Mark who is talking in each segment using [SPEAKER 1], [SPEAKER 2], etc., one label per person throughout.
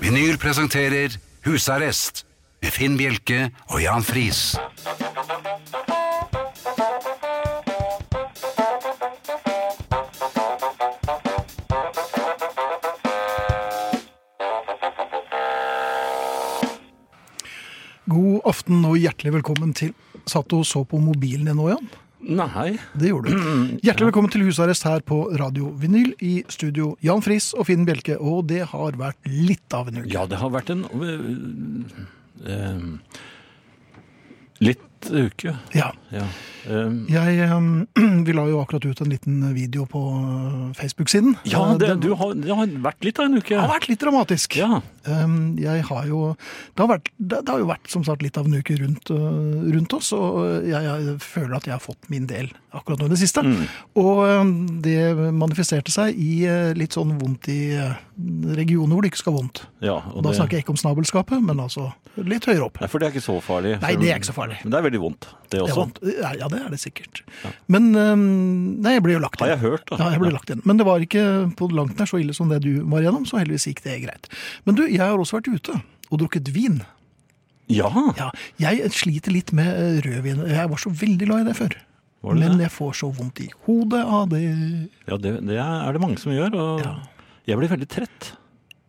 [SPEAKER 1] Vinyl presenterer Husarrest med Finn Bjelke og Jan Friis.
[SPEAKER 2] God aften og hjertelig velkommen til Satt og så på mobilen din nå, Jan?
[SPEAKER 3] Nei.
[SPEAKER 2] Det gjorde du.
[SPEAKER 3] Mm.
[SPEAKER 2] Hjertelig velkommen til husarrest her på Radio Vinyl. I studio Jan Friis og Finn Bjelke, og det har vært litt av en uke.
[SPEAKER 3] Ja, det har vært en øh, øh, Litt uke.
[SPEAKER 2] Ja.
[SPEAKER 3] Ja. Øh,
[SPEAKER 2] Jeg, eh, vi la jo akkurat ut en liten video på eh, Facebook-siden.
[SPEAKER 3] ja,
[SPEAKER 2] Eh,
[SPEAKER 3] det,
[SPEAKER 2] den-
[SPEAKER 3] du har, det har vært litt av en uke.
[SPEAKER 2] det har vært litt dramatisk.
[SPEAKER 3] Ja.
[SPEAKER 2] Um, Jeg har jo det har, vært, det, det har jo vært som sagt litt av en uke rundt, øh, rundt oss, og jeg, jeg føler at jeg har fått min del akkurat nå i det siste.
[SPEAKER 3] Mm.
[SPEAKER 2] Og øhm, det manifesterte seg i øh, litt sånn vondt i øh, regioner hvor det ikke skal vondt.
[SPEAKER 3] Ja,
[SPEAKER 2] Og
[SPEAKER 3] og
[SPEAKER 2] da
[SPEAKER 3] det,
[SPEAKER 2] snakker jeg ikke om snabelskapet, men altså litt høyere opp.
[SPEAKER 3] Nei, for det er ikke så farlig.
[SPEAKER 2] Nei, det er ikke så farlig.
[SPEAKER 3] Men det er veldig vondt, det
[SPEAKER 2] Det er
[SPEAKER 3] også.
[SPEAKER 2] vondt. Ja, det er det sikkert. Men øhm, Nei, jeg ble jo lagt
[SPEAKER 3] Har
[SPEAKER 2] inn.
[SPEAKER 3] jeg hørt, da.
[SPEAKER 2] Ja, jeg ble lagt inn. Men det var ikke på langt nær så ille som det du var gjennom, så heldigvis gikk det greit. Men du, jeg har også vært ute og drukket vin.
[SPEAKER 3] Ja.
[SPEAKER 2] Ja, jeg sliter litt med eh, rødvin. Jeg var så veldig glad i det før.
[SPEAKER 3] Var det
[SPEAKER 2] Men
[SPEAKER 3] det?
[SPEAKER 2] jeg får så vondt i hodet av det.
[SPEAKER 3] ja, det, det er det mange som gjør. Og
[SPEAKER 2] Ja.
[SPEAKER 3] jeg blir veldig trett.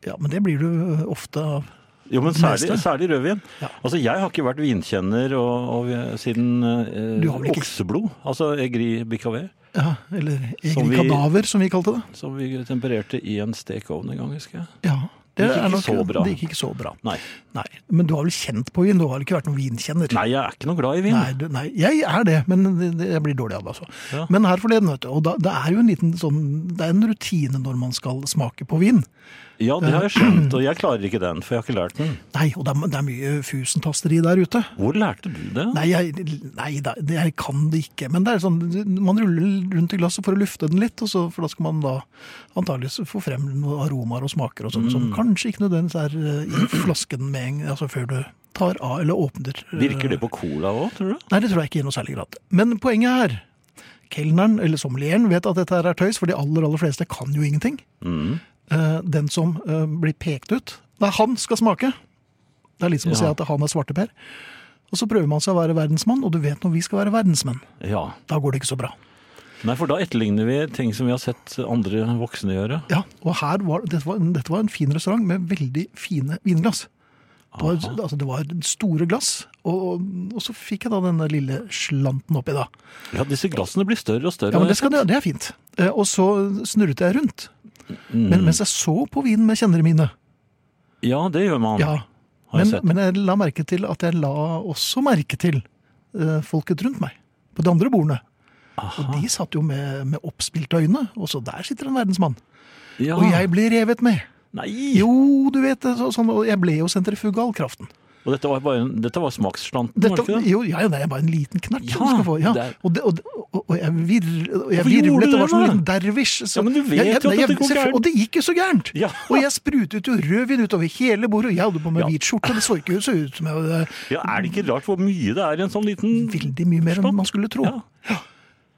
[SPEAKER 2] Ja, men det blir du eh, ofte av.
[SPEAKER 3] Jo, men
[SPEAKER 2] Det
[SPEAKER 3] særlig,
[SPEAKER 2] meste.
[SPEAKER 3] særlig rødvin.
[SPEAKER 2] Ja.
[SPEAKER 3] Altså, Jeg har ikke vært vinkjenner og, og, siden eh,
[SPEAKER 2] Du har vel ikke-
[SPEAKER 3] okseblod, altså Egri Bicavet,
[SPEAKER 2] Ja, eller
[SPEAKER 3] Som
[SPEAKER 2] egen
[SPEAKER 3] vi-
[SPEAKER 2] kadaver, som vi kalte det.
[SPEAKER 3] som vi tempererte i en stekeovn en gang, husker jeg.
[SPEAKER 2] Ja,
[SPEAKER 3] Det gikk
[SPEAKER 2] er
[SPEAKER 3] ikke
[SPEAKER 2] nok-
[SPEAKER 3] så bra.
[SPEAKER 2] Det gikk ikke så bra.
[SPEAKER 3] Nei.
[SPEAKER 2] Nei, Men du har vel kjent på vin? Du har vel ikke vært noen vinkjenner?
[SPEAKER 3] Nei, jeg er ikke noe glad i vin.
[SPEAKER 2] Nei, du, nei, jeg er det, men det- det- jeg blir dårlig av det. altså.
[SPEAKER 3] Ja.
[SPEAKER 2] Men her forleden, vet du, og da, det er jo en liten sånn, det er en rutine når man skal smake på vin.
[SPEAKER 3] Ja, det har jeg skjønt, og jeg klarer ikke den, for jeg har ikke lært den.
[SPEAKER 2] Nei, og det er, det er mye fusentasteri der ute.
[SPEAKER 3] Hvor lærte du det?
[SPEAKER 2] Nei, jeg, nei da, det- jeg kan det ikke. Men det er sånn, man ruller rundt i glasset for å lufte den litt, og så, for da skal man da antageligvis få frem noen aromaer og smaker og sånn,
[SPEAKER 3] Mm.
[SPEAKER 2] som kanskje ikke nødvendigvis er eh, i flasken med en, altså før du tar av eller åpner. eh,
[SPEAKER 3] Virker det på cola òg, tror du?
[SPEAKER 2] Nei, det tror jeg ikke i noe særlig grad. Men poenget er Kelneren, eller sommelieren, vet at dette her er tøys, for de aller aller fleste kan jo ingenting. Eh, Den som eh, blir pekt ut Det er han skal smake! Det er litt som å si
[SPEAKER 3] Ja.
[SPEAKER 2] at han er svarteper. Og så prøver man seg å være verdensmann, og du vet når vi skal være verdensmenn.
[SPEAKER 3] Ja.
[SPEAKER 2] Da går det ikke så bra.
[SPEAKER 3] Nei, for da etterligner vi ting som vi har sett andre voksne gjøre.
[SPEAKER 2] Ja, og her var, dette, var, dette var en fin restaurant med veldig fine vinglass. Det var, altså, det var store glass, og, og så fikk jeg da denne lille slanten oppi da.
[SPEAKER 3] Ja, disse glassene blir større og større.
[SPEAKER 2] Ja, men
[SPEAKER 3] har jeg
[SPEAKER 2] det, skal, det, det er fint. Eh, Og så snurret jeg rundt.
[SPEAKER 3] Mm.
[SPEAKER 2] Men mens jeg så på vinen med kjennere mine
[SPEAKER 3] sett. ja, det gjør man.
[SPEAKER 2] ja,
[SPEAKER 3] Ah, har jeg
[SPEAKER 2] men,
[SPEAKER 3] sett.
[SPEAKER 2] men jeg la merke til at jeg la også merke til eh, folket rundt meg. På de andre bordene. Og de satt jo med, med oppspilte øyne. Og så der sitter en verdensmann.
[SPEAKER 3] Ja.
[SPEAKER 2] Og jeg ble revet med.
[SPEAKER 3] Nei!
[SPEAKER 2] Jo, du vet det. så- Sånn, og jeg ble jo sentrifugalkraften.
[SPEAKER 3] Og dette var, bare en, dette var smaksslanten,
[SPEAKER 2] Dette,
[SPEAKER 3] var det ikke det?
[SPEAKER 2] jo, ja, ja, det er bare en liten knert du
[SPEAKER 3] Ja,
[SPEAKER 2] skal få. Ja.
[SPEAKER 3] det er-
[SPEAKER 2] Og, det, og, og, og jeg, virr- og jeg
[SPEAKER 3] Hvorfor gjorde
[SPEAKER 2] virvlet,
[SPEAKER 3] du
[SPEAKER 2] det var
[SPEAKER 3] det
[SPEAKER 2] som en
[SPEAKER 3] da?
[SPEAKER 2] liten dervisj. så-
[SPEAKER 3] Ja, men du vet jo at
[SPEAKER 2] nei,
[SPEAKER 3] dette går
[SPEAKER 2] selvfø-
[SPEAKER 3] gærent.
[SPEAKER 2] Og det gikk jo så gærent!
[SPEAKER 3] Ja.
[SPEAKER 2] Og jeg sprutet jo rødvin utover hele bordet, og jeg hadde på meg
[SPEAKER 3] Ja.
[SPEAKER 2] hvit skjorte, det så ikke ut, så ut som jeg hadde
[SPEAKER 3] Ja, Er det ikke rart hvor mye det er i en sånn liten
[SPEAKER 2] veldig mye mer enn man skulle tro.
[SPEAKER 3] Ja.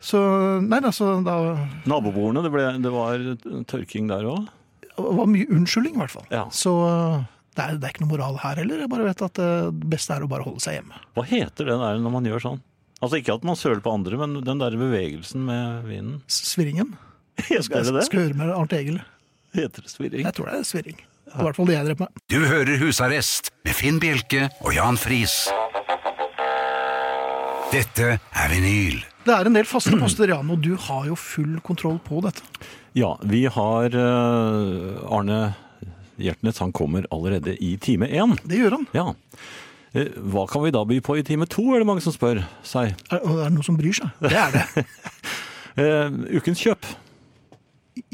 [SPEAKER 2] Så nei da, så da
[SPEAKER 3] Nabobordene, det, ble, det var tørking der òg.
[SPEAKER 2] det var mye unnskyldning i hvert fall.
[SPEAKER 3] Ja.
[SPEAKER 2] Så det er, det er ikke noe moral her heller, jeg bare vet at eh, det beste er å bare holde seg hjemme.
[SPEAKER 3] Hva heter det der når man gjør sånn? Altså Ikke at man søler på andre, men den der bevegelsen med vinen.
[SPEAKER 2] Svirringen.
[SPEAKER 3] Heter det
[SPEAKER 2] Jeg
[SPEAKER 3] det?
[SPEAKER 2] skal høre med Arnt Egil.
[SPEAKER 3] Heter det svirring?
[SPEAKER 2] Jeg tror det er svirring. Det var I hvert fall det jeg drev med.
[SPEAKER 1] Du hører Husarrest med Finn Bjelke og Jan Friis. Dette er vinyl.
[SPEAKER 2] Det er en del faste poster, Jan, og du har jo full kontroll på dette.
[SPEAKER 3] Ja, vi har eh, Arne Hjertnets, han kommer allerede i time én.
[SPEAKER 2] Det gjør han.
[SPEAKER 3] Ja. Eh, Hva kan vi da by på i time to, er det mange som spør seg.
[SPEAKER 2] Er, og er det noen som bryr seg? Det er det.
[SPEAKER 3] Eh, ukens kjøp.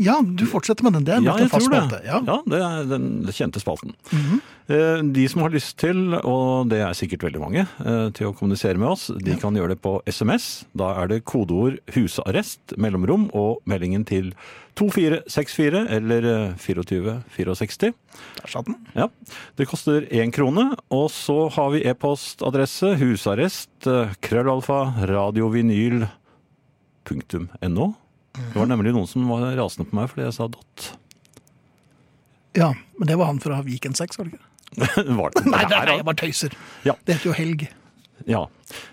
[SPEAKER 2] Ja, du fortsetter med den. Det er
[SPEAKER 3] Ja,
[SPEAKER 2] blitt
[SPEAKER 3] jeg
[SPEAKER 2] en fast
[SPEAKER 3] tror det.
[SPEAKER 2] spalte. Ja. Mhm.
[SPEAKER 3] Ja, det er den kjente spalten. Eh, De som har lyst til, og det er sikkert veldig mange, eh, til å kommunisere med oss, de kan gjøre det på SMS. Da er det kodeord 'husarrest', mellomrom og meldingen til 2464 eller eh, 2464.
[SPEAKER 2] Der satt den.
[SPEAKER 3] Ja, Det koster én krone. Og så har vi e-postadresse husarrest eh, krøllalfa radiovinyl
[SPEAKER 2] Mhm.
[SPEAKER 3] punktum no. Det var nemlig noen som var rasende på meg fordi jeg sa dot.
[SPEAKER 2] Ja, men det var han fra Viken 6, var det ikke?
[SPEAKER 3] Var det?
[SPEAKER 2] Nei, det
[SPEAKER 3] Der,
[SPEAKER 2] er jeg bare tøyser.
[SPEAKER 3] Ja.
[SPEAKER 2] Det heter jo Helg.
[SPEAKER 3] Ja.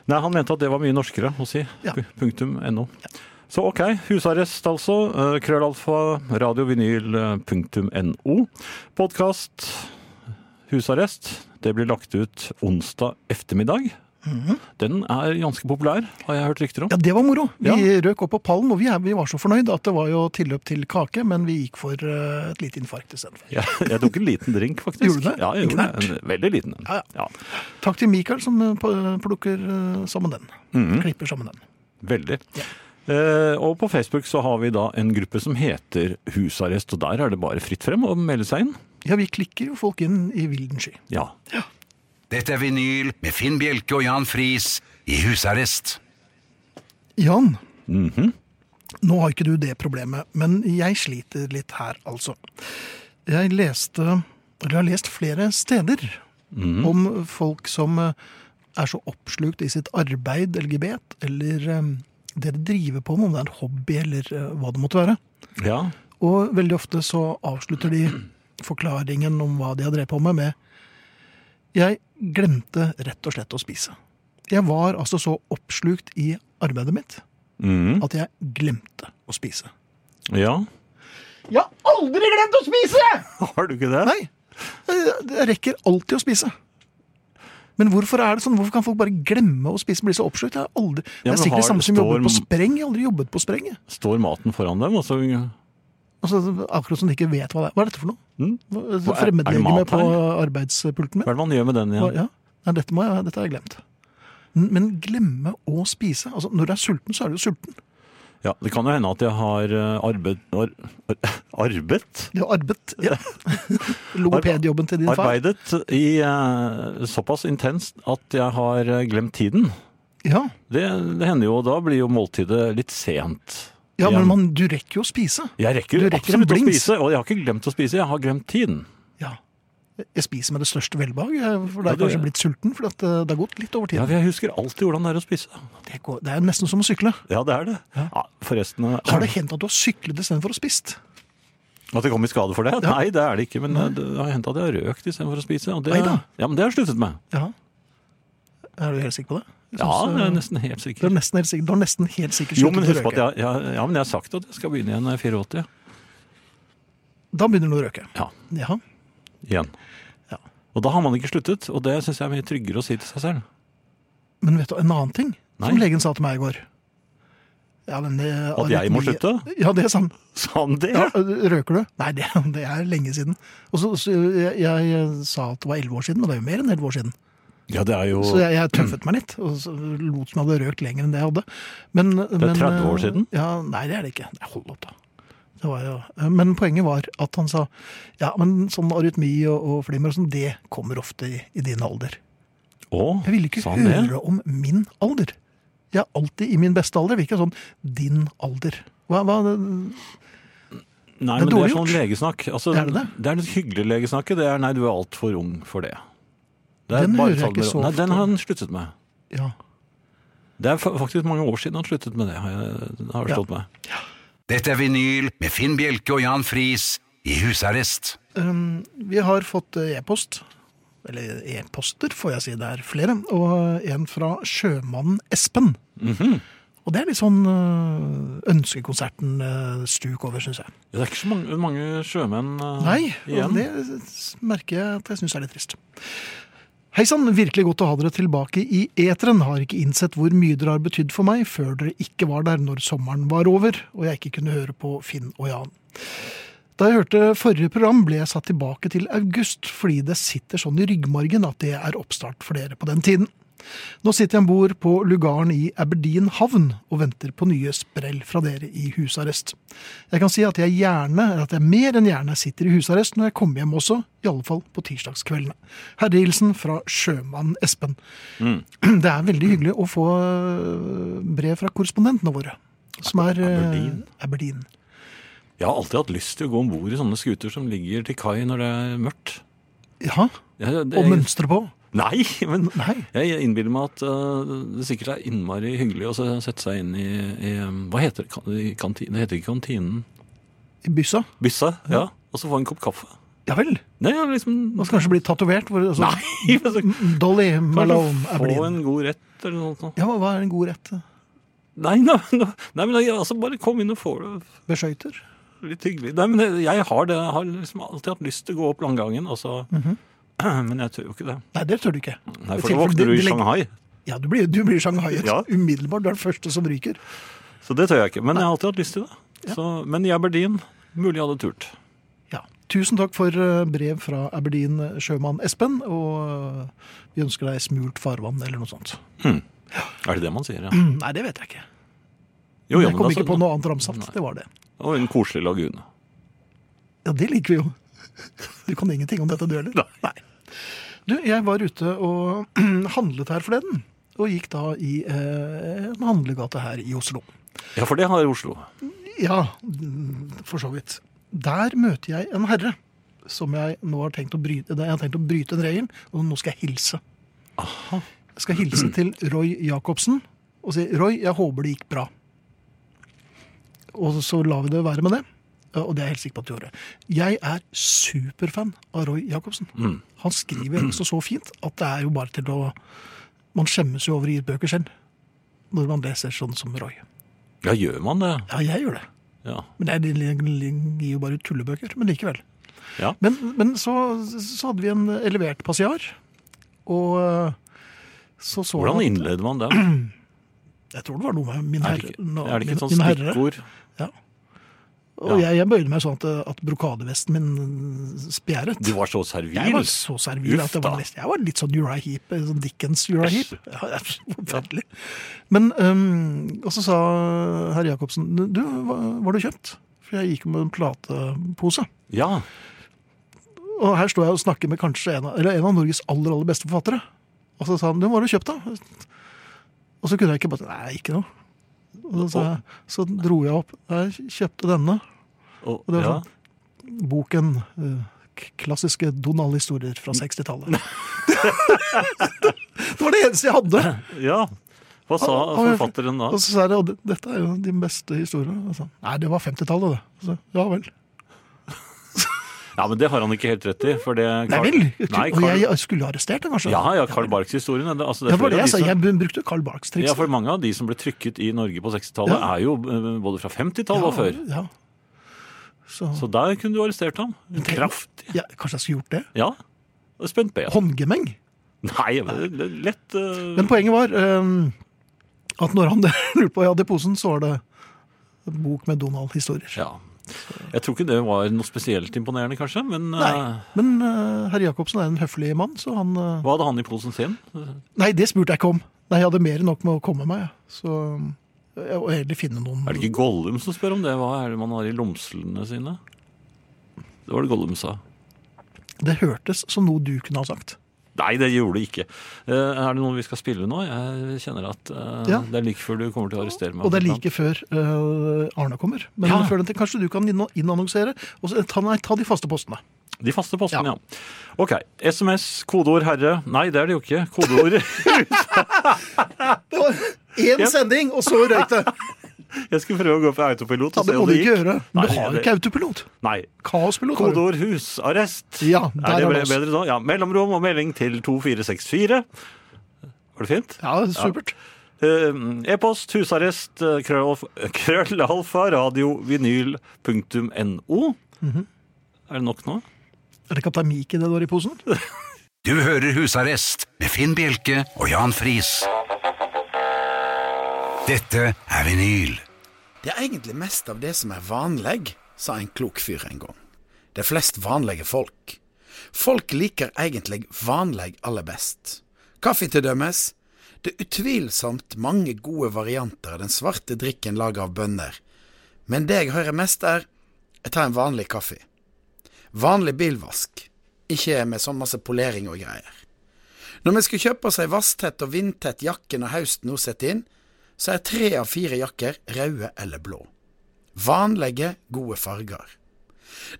[SPEAKER 3] Nei, han mente at det var mye norskere å si.
[SPEAKER 2] Ja.
[SPEAKER 3] Pu- Punktum no. Så ok, husarrest altså. Eh, Krøllalfa, radiovinyl, eh, punktum no. Podkast, husarrest. Det blir lagt ut onsdag ettermiddag. Den er ganske populær, har jeg hørt rykter om.
[SPEAKER 2] Mhm. Ja, det var moro. Vi
[SPEAKER 3] Ja.
[SPEAKER 2] røk opp på pallen, og vi, er, vi var så fornøyd at det var jo tilløp til kake, men vi gikk for eh, et lite infarkt istedenfor.
[SPEAKER 3] Jeg, jeg tok en liten drink, faktisk.
[SPEAKER 2] Gjorde du det?
[SPEAKER 3] Ja, jeg
[SPEAKER 2] En
[SPEAKER 3] gjorde det. En veldig liten en.
[SPEAKER 2] Ja, ja.
[SPEAKER 3] Ja,
[SPEAKER 2] Takk til Mikael som eh, pl- plukker eh, sammen den.
[SPEAKER 3] Mhm.
[SPEAKER 2] Klipper sammen den.
[SPEAKER 3] veldig.
[SPEAKER 2] Ja.
[SPEAKER 3] Eh, og på Facebook så har vi da en gruppe som heter Husarrest, og der er det bare fritt frem å melde seg inn.
[SPEAKER 2] Ja, vi klikker jo folk inn i vilden sky.
[SPEAKER 3] Ja,
[SPEAKER 1] Dette er vinyl med Finn Bjelke og Jan Friis i husarrest.
[SPEAKER 2] Jan, nå har ikke du det problemet, men jeg sliter litt her, altså. Jeg leste, eller har lest flere steder om folk som eh, er så oppslukt i sitt arbeid, LGBT, eller eh, det de driver på med, om det er en hobby eller eh, hva det måtte være.
[SPEAKER 3] Ja,
[SPEAKER 2] Og veldig ofte så avslutter de forklaringen om hva de har drevet på med, med Jeg glemte rett og slett å spise. Jeg var altså så oppslukt i arbeidet mitt
[SPEAKER 3] Mm.
[SPEAKER 2] at jeg glemte å spise.
[SPEAKER 3] ja.
[SPEAKER 2] Jeg har aldri glemt å spise!
[SPEAKER 3] Har du ikke det?
[SPEAKER 2] Nei. Jeg rekker alltid å spise. Men hvorfor er det sånn? Hvorfor kan folk bare glemme å spise? Bli så oppslukt? Jeg har aldri... det
[SPEAKER 3] Ja, men
[SPEAKER 2] er sikkert det
[SPEAKER 3] har-
[SPEAKER 2] samme som jobber
[SPEAKER 3] står-
[SPEAKER 2] på spreng. Jeg har aldri jobbet på spreng. jeg.
[SPEAKER 3] Står maten foran dem, og så
[SPEAKER 2] Altså, akkurat som de ikke vet hva det er. Hva er dette for noe?
[SPEAKER 3] Mm.
[SPEAKER 2] Hva-
[SPEAKER 3] Hva er- er det
[SPEAKER 2] Fremmedlegeme
[SPEAKER 3] mat her?
[SPEAKER 2] på arbeidspulten min?
[SPEAKER 3] Hva er det man gjør med den
[SPEAKER 2] Hva,
[SPEAKER 3] igjen?
[SPEAKER 2] ja. Nei, dette, må jeg, dette har jeg glemt. N- Men glemme å spise. Altså, når du er sulten, så er du jo sulten.
[SPEAKER 3] Ja, Det kan jo hende at jeg har eh, arbeid ar, ar, Arbeidet?
[SPEAKER 2] Det er arbeid. Ja. Logopedjobben til din far.
[SPEAKER 3] Arbeidet i eh, såpass intenst at jeg har eh, glemt tiden.
[SPEAKER 2] Ja.
[SPEAKER 3] Det, det hender jo, og da blir jo måltidet litt sent.
[SPEAKER 2] ja,
[SPEAKER 3] igjen.
[SPEAKER 2] men man, du rekker jo å spise.
[SPEAKER 3] Jeg rekker,
[SPEAKER 2] Du rekker en
[SPEAKER 3] absolutt å
[SPEAKER 2] blings.
[SPEAKER 3] spise, og jeg har ikke glemt å spise, jeg har glemt tiden.
[SPEAKER 2] Ja. Jeg spiser med det største velbehag, jeg, for
[SPEAKER 3] Ja,
[SPEAKER 2] da har jeg
[SPEAKER 3] det-
[SPEAKER 2] kanskje blitt sulten. For at eh, det har gått litt over
[SPEAKER 3] Ja,
[SPEAKER 2] tiden.
[SPEAKER 3] for Jeg husker alltid hvordan det er å spise.
[SPEAKER 2] Det, går, det er nesten som å sykle.
[SPEAKER 3] Ja, det er det. Ja, forresten eh,
[SPEAKER 2] Har det hendt at du har syklet istedenfor å spist?
[SPEAKER 3] At det kom i skade for det? Nei, det er det ikke. Men eh, det har hendt at jeg har røkt istedenfor å spise. Og det,
[SPEAKER 2] Oi da.
[SPEAKER 3] ja, men det har jeg sluttet med.
[SPEAKER 2] Ja. Er du helt sikker på det? Jeg
[SPEAKER 3] Ja,
[SPEAKER 2] synes,
[SPEAKER 3] jeg
[SPEAKER 2] eh,
[SPEAKER 3] er nesten helt
[SPEAKER 2] Du
[SPEAKER 3] sikker.
[SPEAKER 2] er nesten helt sikker, du har nesten helt sikkert
[SPEAKER 3] Jo,
[SPEAKER 2] sluttet
[SPEAKER 3] men
[SPEAKER 2] å
[SPEAKER 3] husk på at
[SPEAKER 2] røyke.
[SPEAKER 3] jeg, ja, ja, men jeg har sagt at jeg skal begynne igjen når jeg er 84.
[SPEAKER 2] Da begynner du å røyke.
[SPEAKER 3] Ja,
[SPEAKER 2] Jaha.
[SPEAKER 3] igjen.
[SPEAKER 2] Ja.
[SPEAKER 3] Og da har man ikke sluttet, og det syns jeg er mye tryggere å si til seg selv.
[SPEAKER 2] Men vet du, en annen ting som
[SPEAKER 3] Nei.
[SPEAKER 2] legen sa til meg i går ja, men det,
[SPEAKER 3] At jeg må
[SPEAKER 2] arytmi-
[SPEAKER 3] slutte?
[SPEAKER 2] Ja, Sånn det er sant.
[SPEAKER 3] Sa han det?
[SPEAKER 2] Ja, røyker du? Nei, det, det er lenge siden. Og så, så jeg, jeg sa at det var elleve år siden, men det er jo mer enn elleve år siden.
[SPEAKER 3] Ja, det er jo
[SPEAKER 2] Så jeg, jeg tøffet meg litt, og så lot som jeg hadde røkt lenger enn det jeg hadde. Men, det
[SPEAKER 3] er 30 år siden?
[SPEAKER 2] Ja, nei, det er det ikke. Nei, hold opp, da. Det var jo, eh, men poenget var at han sa ja, men sånn arytmi og, og flimmer og sånn, det kommer ofte i, i din alder.
[SPEAKER 3] Å,
[SPEAKER 2] Jeg ville ikke
[SPEAKER 3] sa han det?
[SPEAKER 2] høre om min alder. Jeg er alltid i min beste alder. Det virker sånn din alder. Hva, hva, Det
[SPEAKER 3] Nei,
[SPEAKER 2] er
[SPEAKER 3] men det
[SPEAKER 2] dårlig
[SPEAKER 3] er sånn
[SPEAKER 2] gjort.
[SPEAKER 3] legesnakk. Altså,
[SPEAKER 2] Er det det?
[SPEAKER 3] er litt hyggelig legesnakke. Det er 'nei, du er altfor ung for det'. det
[SPEAKER 2] Den
[SPEAKER 3] bare
[SPEAKER 2] hører jeg ikke
[SPEAKER 3] salmer-
[SPEAKER 2] så
[SPEAKER 3] Nei,
[SPEAKER 2] ofte.
[SPEAKER 3] den har han sluttet med.
[SPEAKER 2] ja.
[SPEAKER 3] Det er fa- faktisk mange år siden han sluttet med det, har jeg har jeg
[SPEAKER 2] Ja.
[SPEAKER 3] slått meg.
[SPEAKER 1] Dette er vinyl med Finn Bjelke og Jan Friis i husarrest.
[SPEAKER 2] Um, vi har fått eh, e-post. Eller e-poster, får jeg si. Det er flere. Og eh, en fra sjømannen Espen.
[SPEAKER 3] Mhm.
[SPEAKER 2] Og det er litt sånn eh, ønskekonserten-stuk over, syns jeg.
[SPEAKER 3] Det er ikke så mange, mange sjømenn eh,
[SPEAKER 2] Nei, og
[SPEAKER 3] igjen.
[SPEAKER 2] det merker jeg at jeg syns er litt trist. Hei sann, virkelig godt å ha dere tilbake i eteren. Har ikke innsett hvor mye dere har betydd for meg før dere ikke var der når sommeren var over og jeg ikke kunne høre på Finn og Jan. Da jeg hørte forrige program, ble jeg satt tilbake til august fordi det sitter sånn i ryggmargen at det er oppstart for dere på den tiden. Nå sitter jeg om bord på lugaren i Aberdeen havn og venter på nye sprell fra dere i husarrest. Jeg kan si at jeg gjerne, eller at jeg mer enn gjerne sitter i husarrest når jeg kommer hjem også, i alle fall på tirsdagskveldene. Herrehilsen fra sjømann Espen.
[SPEAKER 3] Mm.
[SPEAKER 2] Det er veldig hyggelig å få øh, brev fra korrespondentene våre, som er øh,
[SPEAKER 3] Aberdeen?
[SPEAKER 2] Aberdeen.
[SPEAKER 3] Jeg har alltid hatt lyst til å gå om bord i sånne skuter som ligger til kai når det er mørkt.
[SPEAKER 2] Ja,
[SPEAKER 3] Jeg, det,
[SPEAKER 2] og mønstre på.
[SPEAKER 3] Nei, men
[SPEAKER 2] Nei.
[SPEAKER 3] jeg innbiller meg at eh, det sikkert er innmari hyggelig å se- sette seg inn i, i eh, Hva heter det? Kan- i kanti- Det heter ikke kantinen.
[SPEAKER 2] I byssa.
[SPEAKER 3] Byssa, ja. Og så få en kopp kaffe.
[SPEAKER 2] Ja vel?
[SPEAKER 3] Det er liksom
[SPEAKER 2] Man skal kanskje bli tatovert? hvor- Altså,
[SPEAKER 3] Nei, men så-
[SPEAKER 2] Dolly Malone er
[SPEAKER 3] Få
[SPEAKER 2] blind.
[SPEAKER 3] en god rett eller noe sånt.
[SPEAKER 2] Ja, hva- Hva er en god rett?
[SPEAKER 3] Nei, nei, nei, nei men altså, bare kom inn og få det
[SPEAKER 2] Beskøyter?
[SPEAKER 3] litt hyggelig. Nei, men jeg- jeg har det. Jeg har liksom alltid hatt lyst til å gå opp langgangen, altså. Men jeg tør jo ikke det.
[SPEAKER 2] Nei, det tør du ikke.
[SPEAKER 3] Nei,
[SPEAKER 2] Det
[SPEAKER 3] for da
[SPEAKER 2] Mhm. tilfelle-
[SPEAKER 3] våkner du
[SPEAKER 2] de-
[SPEAKER 3] i
[SPEAKER 2] de legger-
[SPEAKER 3] Shanghai.
[SPEAKER 2] Ja, du blir, du blir shanghaiet
[SPEAKER 3] Ja.
[SPEAKER 2] umiddelbart. Du er den første som ryker.
[SPEAKER 3] Så det tør jeg ikke. Men jeg har alltid hatt lyst til det. Så, men i Aberdeen, mulig jeg hadde turt.
[SPEAKER 2] Ja. Tusen takk for eh, brev fra Aberdeen eh, sjømann Espen, og eh, vi ønsker deg smult farvann eller noe sånt.
[SPEAKER 3] Er det det man sier, ja?
[SPEAKER 2] Nei, det vet jeg ikke.
[SPEAKER 3] Jo, ja,
[SPEAKER 2] Mm. jeg kom
[SPEAKER 3] men altså-
[SPEAKER 2] ikke på noe annet ramsatt. Det var det.
[SPEAKER 3] Og en koselig lagune.
[SPEAKER 2] Ja, det liker vi jo. Du kan ingenting om dette, du heller? Nei. Du, jeg var ute og handlet her forleden. Og gikk da i eh, en handlegate her i Oslo.
[SPEAKER 3] Ja, for det har Oslo.
[SPEAKER 2] Ja, mm, for så vidt. Der møter jeg en herre som jeg nå har tenkt å bryte, jeg har tenkt å bryte en regel, og nå skal jeg hilse. Jeg skal hilse til Roy Jacobsen og si 'Roy, jeg håper det gikk bra'. Og så lar vi det være med det. Og det er jeg helt sikker på at du gjorde. Jeg er superfan av Roy Jacobsen. Han skriver også så fint at det er jo bare til å Man skjemmes jo over å gi ut bøker selv når man leser sånn som Roy.
[SPEAKER 3] Ja, gjør man det?
[SPEAKER 2] Ja, jeg gjør det.
[SPEAKER 3] Ja.
[SPEAKER 2] Men det er, de gir jo bare ut tullebøker, men likevel.
[SPEAKER 3] ja.
[SPEAKER 2] Men, men så, så hadde vi en elevert passiar, og eh, så så
[SPEAKER 3] Hvordan
[SPEAKER 2] han at-
[SPEAKER 3] innleder man det?
[SPEAKER 2] Jeg tror det var noe med min
[SPEAKER 3] Er
[SPEAKER 2] herre.
[SPEAKER 3] det ikke,
[SPEAKER 2] nå-
[SPEAKER 3] er det ikke et
[SPEAKER 2] min-
[SPEAKER 3] sånt
[SPEAKER 2] min herre.
[SPEAKER 3] stikkord?
[SPEAKER 2] Ja. Og
[SPEAKER 3] Ja.
[SPEAKER 2] jeg, jeg bøyde meg sånn at, at brokadevesten min eh, spjæret.
[SPEAKER 3] Du var så servil.
[SPEAKER 2] jeg var så servil at det
[SPEAKER 3] Uff da.
[SPEAKER 2] var litt, jeg var litt sånn Uriah Heep, sånn Dickens Uriah
[SPEAKER 3] Æsj.
[SPEAKER 2] Heep. Ja, det er forferdelig. Men, ehm, og så sa herr Jacobsen, du, hva- var du kjøpt? For jeg gikk med en platepose.
[SPEAKER 3] Ja.
[SPEAKER 2] Og her står jeg og snakker med kanskje en av, eller en av Norges aller, aller beste forfattere. Og så sa han, den var du kjøpt da? Og så kunne jeg ikke bare, nei, ikke noe. Og så, sa jeg, så dro jeg opp, jeg kjøpte denne
[SPEAKER 3] Og,
[SPEAKER 2] det var
[SPEAKER 3] ja.
[SPEAKER 2] sånn- boken, eh, k- klassiske Donald-historier fra 60-tallet. det var det eneste jeg hadde.
[SPEAKER 3] ja. Hva sa
[SPEAKER 2] Og- og-
[SPEAKER 3] forfatteren da?
[SPEAKER 2] Og så sa jeg, og det- dette er jo de beste historiene. Og så, nei, det var 50-tallet det. Og Så, ja vel.
[SPEAKER 3] Ja, men Det har han ikke helt rett i. For det
[SPEAKER 2] Nei
[SPEAKER 3] Carl-
[SPEAKER 2] vel,
[SPEAKER 3] Nei,
[SPEAKER 2] og
[SPEAKER 3] Carl...
[SPEAKER 2] jeg, jeg skulle arrestert den kanskje.
[SPEAKER 3] Ja, ja, Carl Barks-historien. Det, altså, det
[SPEAKER 2] Ja,
[SPEAKER 3] er
[SPEAKER 2] det var
[SPEAKER 3] flere
[SPEAKER 2] det jeg
[SPEAKER 3] av
[SPEAKER 2] sa.
[SPEAKER 3] de som-
[SPEAKER 2] Jeg brukte Carl Barks triks.
[SPEAKER 3] ja, for mange av de som ble trykket i Norge på 60-tallet,
[SPEAKER 2] Ja.
[SPEAKER 3] er jo eh, både fra 50-tallet og før.
[SPEAKER 2] Ja. Så,
[SPEAKER 3] Så der kunne du arrestert ham. Kraftig.
[SPEAKER 2] ja, kanskje jeg skulle gjort det?
[SPEAKER 3] Ja. Og Spent B.
[SPEAKER 2] Håndgemeng.
[SPEAKER 3] Nei, men det er lett eh,
[SPEAKER 2] Men poenget var ehm, at når han lurte på hva jeg hadde i posen, så var det en bok med Donald-historier.
[SPEAKER 3] Ja. Jeg tror ikke det var noe spesielt imponerende, kanskje. Men eh,
[SPEAKER 2] Nei, Men eh, herr Jacobsen er en høflig mann, så han eh,
[SPEAKER 3] hva hadde han i posen sin?
[SPEAKER 2] Nei, det spurte jeg ikke om. Nei, Jeg hadde mer enn nok med å komme meg. jeg. Så eh, Og heller finne noen
[SPEAKER 3] Er det ikke Gollum som spør om det? Hva er det man har i lomslene sine? Det var det Gollum sa.
[SPEAKER 2] Det hørtes som noe du kunne ha sagt.
[SPEAKER 3] Nei, det gjorde det ikke. Eh, er det noen vi skal spille nå? Jeg kjenner at eh,
[SPEAKER 2] Ja.
[SPEAKER 3] det er like før du kommer til å arrestere meg.
[SPEAKER 2] Og det er like før eh, Arne kommer. Men
[SPEAKER 3] Ja.
[SPEAKER 2] før den tid, kanskje du kan inn- innannonsere? Og så, ta, nei, ta de faste postene.
[SPEAKER 3] De faste postene, ja. Ok. SMS, kodeord herre. Nei, det er det jo ikke. Kodeord Jeg
[SPEAKER 2] Det var én
[SPEAKER 3] Ja.
[SPEAKER 2] sending, og så røyk det.
[SPEAKER 3] skulle prøve å gå på autopilot
[SPEAKER 2] Ja, det
[SPEAKER 3] og se
[SPEAKER 2] må
[SPEAKER 3] om
[SPEAKER 2] du
[SPEAKER 3] det
[SPEAKER 2] ikke
[SPEAKER 3] gikk.
[SPEAKER 2] gjøre.
[SPEAKER 3] Nei,
[SPEAKER 2] du har jo
[SPEAKER 3] det-
[SPEAKER 2] ikke autopilot.
[SPEAKER 3] Nei.
[SPEAKER 2] Kaospilot. har du.
[SPEAKER 3] Kodeord husarrest.
[SPEAKER 2] Ja, der
[SPEAKER 3] er det
[SPEAKER 2] er
[SPEAKER 3] ble-
[SPEAKER 2] det også.
[SPEAKER 3] bedre da? Ja. Mellomrom og melding til 2464. Var det fint?
[SPEAKER 2] Ja, supert.
[SPEAKER 3] Eh, E-post husarrest eh, krøllalf- krøllalfa radiovinyl.no.
[SPEAKER 2] Mhm.
[SPEAKER 3] Er det nok nå?
[SPEAKER 2] Er det Kaptein Mik i det du har i posen?
[SPEAKER 1] Du hører Husarrest med Finn Bjelke og Jan Friis. Dette er vinyl.
[SPEAKER 4] Det er egentlig mest av det som er vanleg, sa en klok fyr en gang. Det er flest vanlige folk. Folk liker egentlig vanleg aller best. Kaffe til dømes. Det er utvilsomt mange gode varianter av den svarte drikken laga av bønder, men det jeg hører mest er jeg tar en vanlig kaffe. Vanlig bilvask, ikke med sånn masse polering og greier. Når vi skulle kjøpe oss ei vasstett og vindtett jakke når høsten nå setter inn, så er tre av fire jakker røde eller blå. Vanlige, gode farger.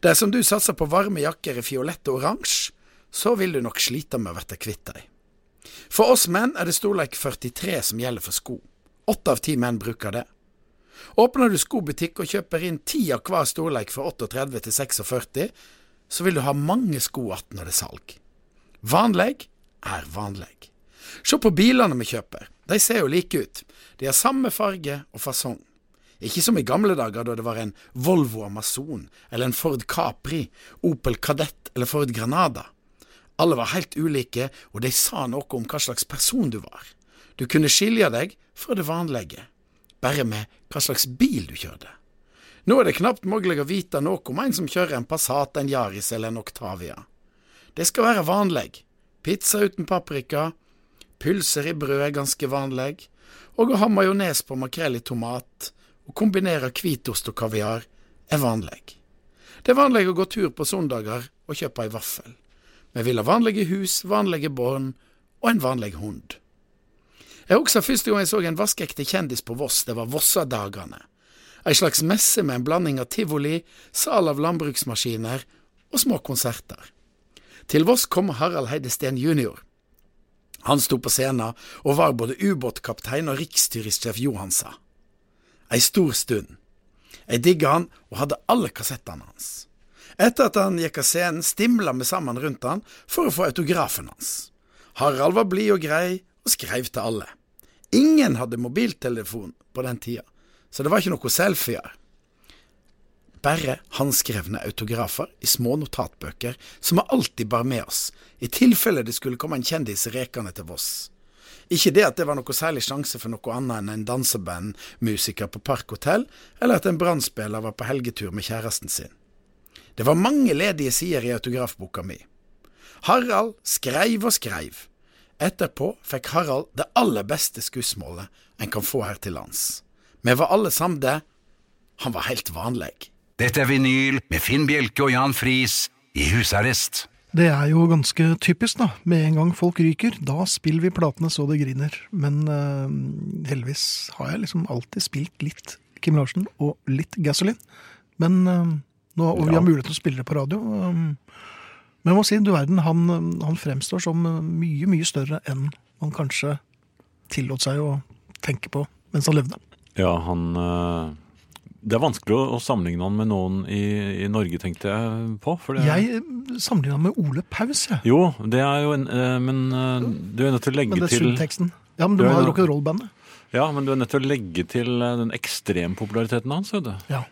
[SPEAKER 4] Dersom du satser på varme jakker i fiolett og oransje, så vil du nok slite med å bli kvitt dem. For oss menn er det storlek 43 som gjelder for sko. Åtte av ti menn bruker det. Åpner du skobutikk og kjøper inn ti av hver storlek fra 38 til 46, så vil du ha mange sko igjen når det er salg. Vanleg er vanleg. Se på bilene vi kjøper. De ser jo like ut. De har samme farge og fasong. Ikke som i gamle dager da det var en Volvo Amazon eller en Ford Capri, Opel Kadett eller Ford Granada. Alle var helt ulike, og de sa noe om hva slags person du var. Du kunne skilje deg fra det vanlige, bare med hva slags bil du kjørte. Nå er det knapt mulig å vite noe om en som kjører en Passat, en Yaris eller en Octavia. Det skal være vanlig. Pizza uten paprika, pølser i brød er ganske vanlig, og å ha majones på makrell i tomat, og kombinere hvitost og kaviar, er vanlig. Det er vanlig å gå tur på søndager og kjøpe ei vaffel. Vi vil ha vanlige hus, vanlige barn og en vanlig hund. Jeg husker første gang jeg så en vaskeekte kjendis på Voss, det var Vossadagane. Ei slags messe med en blanding av tivoli, sal av landbruksmaskiner og små konserter. Til Voss kom Harald Heide Steen jr. Han sto på scenen og var både ubåtkaptein og riksstyresjef Johansa. Ei stor stund. Jeg digga han og hadde alle kassettene hans. Etter at han gikk av scenen, stimla vi sammen rundt han for å få autografen hans. Harald var blid og grei, og skrev til alle. Ingen hadde mobiltelefon på den tida, så det var ikke noe selfier. Bare håndskrevne autografer i små notatbøker som vi alltid bar med oss, i tilfelle det skulle komme en kjendis rekende til Voss. Ikke det at det var noe særlig sjanse for noe annet enn en dansebandmusiker på Parkhotell, eller at en brannspiller var på helgetur med kjæresten sin. Det var mange ledige sider i autografboka mi. Harald skreiv og skreiv. Etterpå fikk Harald det aller beste skussmålet en kan få her til lands. Vi var alle samde. Han var helt vanlig.
[SPEAKER 1] Dette er vinyl med Finn Bjelke og Jan Friis i husarrest.
[SPEAKER 2] Det er jo ganske typisk, da. Med en gang folk ryker, da spiller vi platene så det griner. Men eh, heldigvis har jeg liksom alltid spilt litt Kim Larsen og litt Gasoline. Men eh, nå, og vi
[SPEAKER 3] Ja.
[SPEAKER 2] har mulighet til å spille det på radio. eh, men jeg må si, du verden, han, han fremstår som eh, mye, mye større enn man kanskje tillot seg å tenke på mens han levde.
[SPEAKER 3] Ja, han eh, Det er vanskelig å- å sammenligne han med noen i, i Norge, tenkte jeg på. For det,
[SPEAKER 2] Jeg sammenligna med Ole Paus, jeg.
[SPEAKER 3] Jo, det er jo en eh, Men eh, du er nødt til å legge
[SPEAKER 2] Men det er
[SPEAKER 3] til
[SPEAKER 2] subteksten. Ja, men du
[SPEAKER 3] Ja,
[SPEAKER 2] har
[SPEAKER 3] ja.
[SPEAKER 2] rock'n'roll-bandet.
[SPEAKER 3] Ja, men du er nødt til å legge til eh, den ekstrempopulariteten hans, vet du.
[SPEAKER 2] Ja.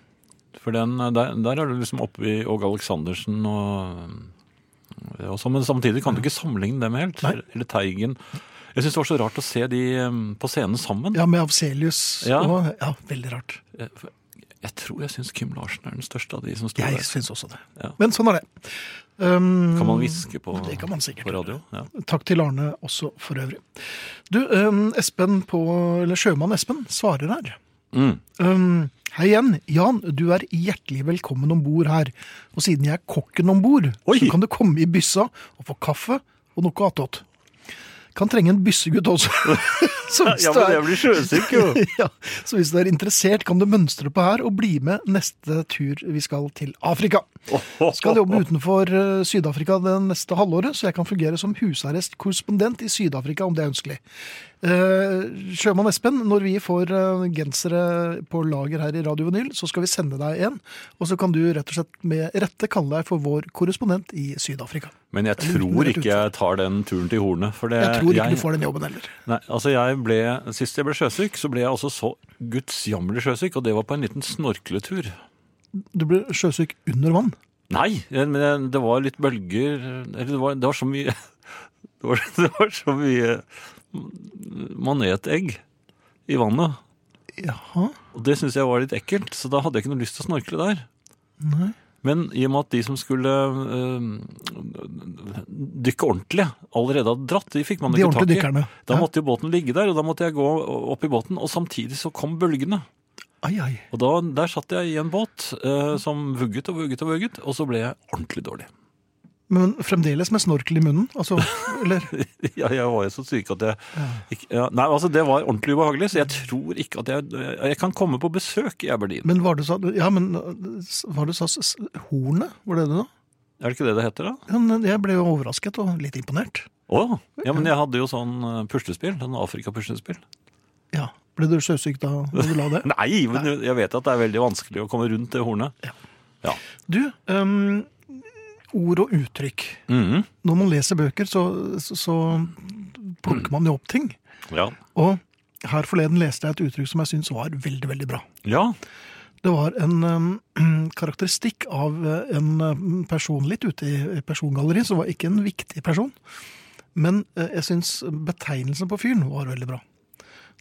[SPEAKER 3] For den, eh, der, der er du liksom oppe i Åge Aleksandersen og, eh, og så, Men samtidig kan du ikke sammenligne dem helt.
[SPEAKER 2] Nei.
[SPEAKER 3] Eller Teigen. Jeg syns det var så rart å se de eh, på scenen sammen.
[SPEAKER 2] Ja, med Avselius.
[SPEAKER 3] Ja.
[SPEAKER 2] Og, ja, veldig rart.
[SPEAKER 3] Eh, for Jeg tror jeg syns Kim Larsen er den største av de som sto
[SPEAKER 2] Jeg
[SPEAKER 3] der.
[SPEAKER 2] syns også det.
[SPEAKER 3] Ja.
[SPEAKER 2] Men sånn er det. Um,
[SPEAKER 3] Kan man hviske på,
[SPEAKER 2] Det kan man sikkert.
[SPEAKER 3] på radio? Ja.
[SPEAKER 2] Takk til Arne også for øvrig. Du, um, Espen på, eller Sjømann Espen svarer her.
[SPEAKER 3] Mm.
[SPEAKER 2] Um, hei igjen. Jan, du er hjertelig velkommen om bord her. Og siden jeg er kokken om bord,
[SPEAKER 3] Oi!
[SPEAKER 2] så kan du komme i byssa og få kaffe og noe attåt. Kan trenge en byssegutt også. Så hvis
[SPEAKER 3] Ja,
[SPEAKER 2] du
[SPEAKER 3] men
[SPEAKER 2] er-
[SPEAKER 3] jeg blir sjøsyk, jo!
[SPEAKER 2] ja, så hvis du er interessert, kan du mønstre på her og bli med neste tur vi skal til Afrika. Skal jobbe utenfor eh, Sydafrika det neste halvåret, så jeg kan fungere som husarrestkorrespondent i Sydafrika om det er ønskelig. Eh, Sjømann Espen, når vi får eh, gensere på lager her i Radio Vinyl, så skal vi sende deg en, og så kan du rett og slett med rette kalle deg for vår korrespondent i Sydafrika.
[SPEAKER 3] Men jeg tror ikke jeg tar den turen til hornet. For det,
[SPEAKER 2] Jeg tror ikke du får den jobben heller.
[SPEAKER 3] Nei, altså jeg ble, Sist jeg ble sjøsyk, så ble jeg altså så gudsjammerlig sjøsyk, og det var på en liten snorkletur.
[SPEAKER 2] Du blir sjøsyk under vann.
[SPEAKER 3] Nei, men jeg- det var litt bølger Eller det var, det var så mye det var, det var så mye manetegg i vannet.
[SPEAKER 2] Jaha.
[SPEAKER 3] Og det syntes jeg var litt ekkelt, så da hadde jeg ikke noe lyst til å snorkle der.
[SPEAKER 2] Nei.
[SPEAKER 3] Men i og med at de som skulle eh, dykke ordentlig, allerede hadde dratt, de fikk man
[SPEAKER 2] De
[SPEAKER 3] ikke tak i.
[SPEAKER 2] ordentlige dykkerne.
[SPEAKER 3] Da
[SPEAKER 2] Ja.
[SPEAKER 3] måtte jo båten ligge der, og da måtte jeg gå opp i båten, og samtidig så kom bølgene.
[SPEAKER 2] Ai, ai.
[SPEAKER 3] Og da, der satt jeg i en båt eh, som vugget og vugget og vugget, og så ble jeg ordentlig dårlig.
[SPEAKER 2] Men fremdeles med snorkel i munnen? Altså, eller
[SPEAKER 3] ja, jeg var jo så syk at jeg ikke, ja, Nei, altså det var ordentlig ubehagelig, så jeg tror ikke at jeg Jeg kan komme på besøk i Aberdeen.
[SPEAKER 2] Men var det sa Ja, men uh, var det sa s- s- hornet? Var det det, da?
[SPEAKER 3] Er det ikke det det heter, da?
[SPEAKER 2] Men Jeg ble jo overrasket og litt imponert.
[SPEAKER 3] Å! ja, men jeg hadde jo sånn eh, puslespill. Sånn Afrika-puslespill.
[SPEAKER 2] Ja. Ble du sjøsyk da når du la det?
[SPEAKER 3] Nei, men jeg vet at det er veldig vanskelig å komme rundt det hornet.
[SPEAKER 2] Du, øhm, ord og uttrykk.
[SPEAKER 3] Mhm.
[SPEAKER 2] Når man leser bøker, så, så, så plukker man jo opp ting.
[SPEAKER 3] Ja.
[SPEAKER 2] Og her forleden leste jeg et uttrykk som jeg syns var veldig, veldig bra.
[SPEAKER 3] ja.
[SPEAKER 2] Det var en øhm, karakteristikk av øh, en øhm, person litt ute i i persongalleriet, som var ikke en viktig person. Men øh, jeg syns betegnelsen på fyren var veldig bra.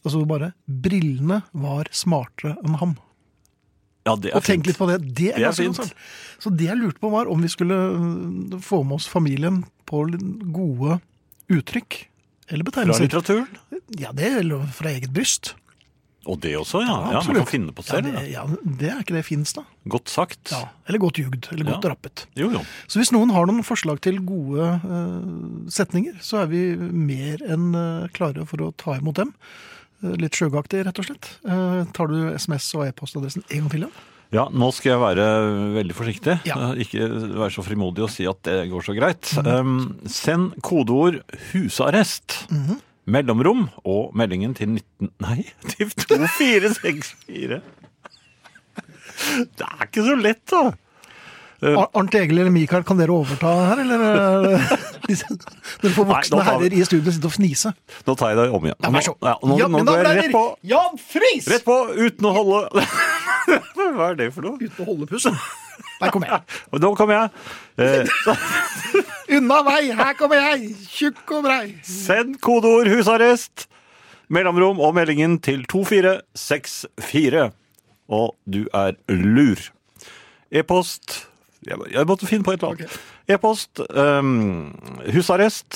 [SPEAKER 2] Altså bare 'brillene var smartere enn ham'.
[SPEAKER 3] Ja, det er
[SPEAKER 2] Og tenk
[SPEAKER 3] fint.
[SPEAKER 2] litt på det. Det er
[SPEAKER 3] Det er
[SPEAKER 2] ganske
[SPEAKER 3] fint.
[SPEAKER 2] konsert. Så det jeg lurte på, var om vi skulle øh, få med oss familien på litt gode uttrykk. Eller
[SPEAKER 3] Fra
[SPEAKER 2] betegnelser.
[SPEAKER 3] litteraturen.
[SPEAKER 2] Ja, det eller fra eget bryst.
[SPEAKER 3] Og det også, ja.
[SPEAKER 2] Ja,
[SPEAKER 3] ja man
[SPEAKER 2] absolutt.
[SPEAKER 3] kan finne på
[SPEAKER 2] Ja,
[SPEAKER 3] selv.
[SPEAKER 2] det,
[SPEAKER 3] ja.
[SPEAKER 2] ja, det er ikke det fins, da.
[SPEAKER 3] Godt sagt.
[SPEAKER 2] Ja, eller godt jugd. Eller godt
[SPEAKER 3] Ja.
[SPEAKER 2] rappet.
[SPEAKER 3] Jo, jo.
[SPEAKER 2] Så hvis noen har noen forslag til gode eh, setninger, så er vi mer enn eh, klare for å ta imot dem. Eh, litt sjøgaktig, rett og slett. Eh, tar du SMS og e-postadressen en gang til? Jan?
[SPEAKER 3] Ja, nå skal jeg være veldig forsiktig.
[SPEAKER 2] Ja.
[SPEAKER 3] Eh, Ikke være så frimodig og si at det går så greit. Um, send kodeord 'husarrest',
[SPEAKER 2] Mhm.
[SPEAKER 3] mellomrom og meldingen til 19... Nei, til 2464. Det er ikke så lett, da! Eh.
[SPEAKER 2] Ar- Arnt Egil eller Mikael, kan dere overta her, eller? eh, disse- Dere får
[SPEAKER 3] Nei,
[SPEAKER 2] voksne
[SPEAKER 3] nå tar vi-
[SPEAKER 2] herrer i studio sitte og fnise.
[SPEAKER 3] Nå tar jeg deg om igjen.
[SPEAKER 2] Ja, vær så
[SPEAKER 3] Nå, ja, nå,
[SPEAKER 2] Ja,
[SPEAKER 3] nå
[SPEAKER 2] mine
[SPEAKER 3] går jeg
[SPEAKER 2] damer og
[SPEAKER 3] rett på,
[SPEAKER 2] herrer, Jan Friis!
[SPEAKER 3] rett på uten å holde Hva er det for noe?
[SPEAKER 2] Uten å holde pusten. Der kommer jeg.
[SPEAKER 3] Og nå kommer jeg. Eh,
[SPEAKER 2] Unna vei, her kommer jeg! Tjukk og brei.
[SPEAKER 3] Send kodeord 'husarrest', mellomrom og meldingen til 2464. Og du er lur. E-post jeg, må- jeg måtte finne på et lag.
[SPEAKER 2] Ok.
[SPEAKER 3] E-post ehm, husarrest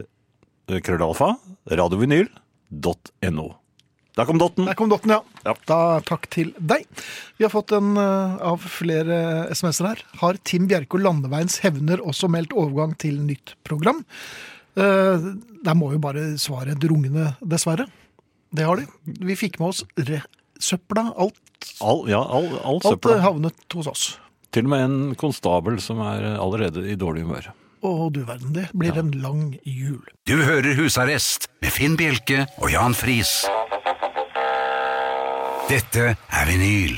[SPEAKER 3] eh, krøllalfa radiovinyl.no. Der kom dotten.
[SPEAKER 2] Der kom dotten, ja.
[SPEAKER 3] Ja.
[SPEAKER 2] Da takk til deg. Vi har fått en eh, av flere SMS-er her. Har Tim Bjerko Landeveiens hevner også meldt overgang til nytt program? Eh, der må jo bare svaret drugne, dessverre. Det har de. Vi fikk med oss re søpla. Alt,
[SPEAKER 3] All, ja, all, all
[SPEAKER 2] alt eh,
[SPEAKER 3] søpla.
[SPEAKER 2] havnet hos oss.
[SPEAKER 3] Til og med en konstabel som er allerede i dårlig humør.
[SPEAKER 2] Å du verden, det blir en lang jul.
[SPEAKER 1] Du hører Husarrest med Finn Bjelke og Jan Friis. Dette er vinyl.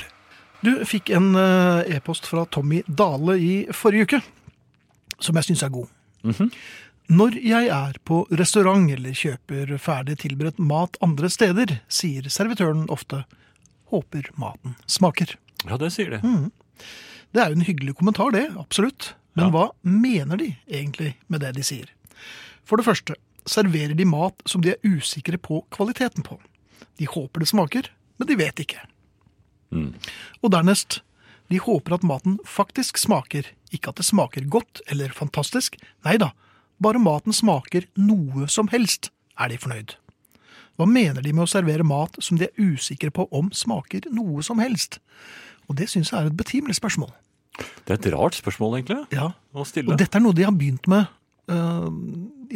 [SPEAKER 2] Du fikk en eh, e-post fra Tommy Dale i forrige uke, som jeg syns er god. Når jeg er på restaurant eller kjøper ferdig tilberedt mat andre steder, sier servitøren ofte 'håper maten smaker'.
[SPEAKER 3] Ja, det sier de.
[SPEAKER 2] Mm. Det er jo en hyggelig kommentar, det. Absolutt. Men
[SPEAKER 3] Ja.
[SPEAKER 2] hva mener de egentlig med det de sier? For det første serverer de mat som de er usikre på kvaliteten på. De håper det smaker, men de vet ikke. Og dernest, de håper at maten faktisk smaker. Ikke at det smaker godt eller fantastisk. Nei da, bare maten smaker noe som helst, er de fornøyd. Hva mener de med å servere mat som de er usikre på om smaker noe som helst? Og det syns jeg er et betimelig spørsmål.
[SPEAKER 3] Det er et rart spørsmål, egentlig.
[SPEAKER 2] Ja.
[SPEAKER 3] Å
[SPEAKER 2] Og
[SPEAKER 3] stille.
[SPEAKER 2] dette er noe de har begynt med eh,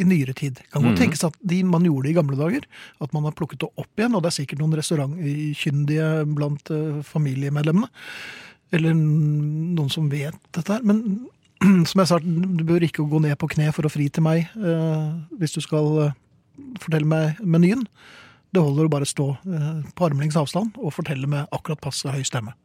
[SPEAKER 2] i nyere tid. Kan godt tenkes at de, man gjorde det i gamle dager, at man har plukket det opp igjen, og det er sikkert noen restaurantkyndige blant eh, familiemedlemmene, eller noen som vet dette her, men som jeg sa, du bør ikke gå ned på kne for å fri til meg eh, hvis du skal eh, fortelle meg menyen. Det holder å bare stå eh, på armlengdes avstand og fortelle med akkurat passe høy stemme.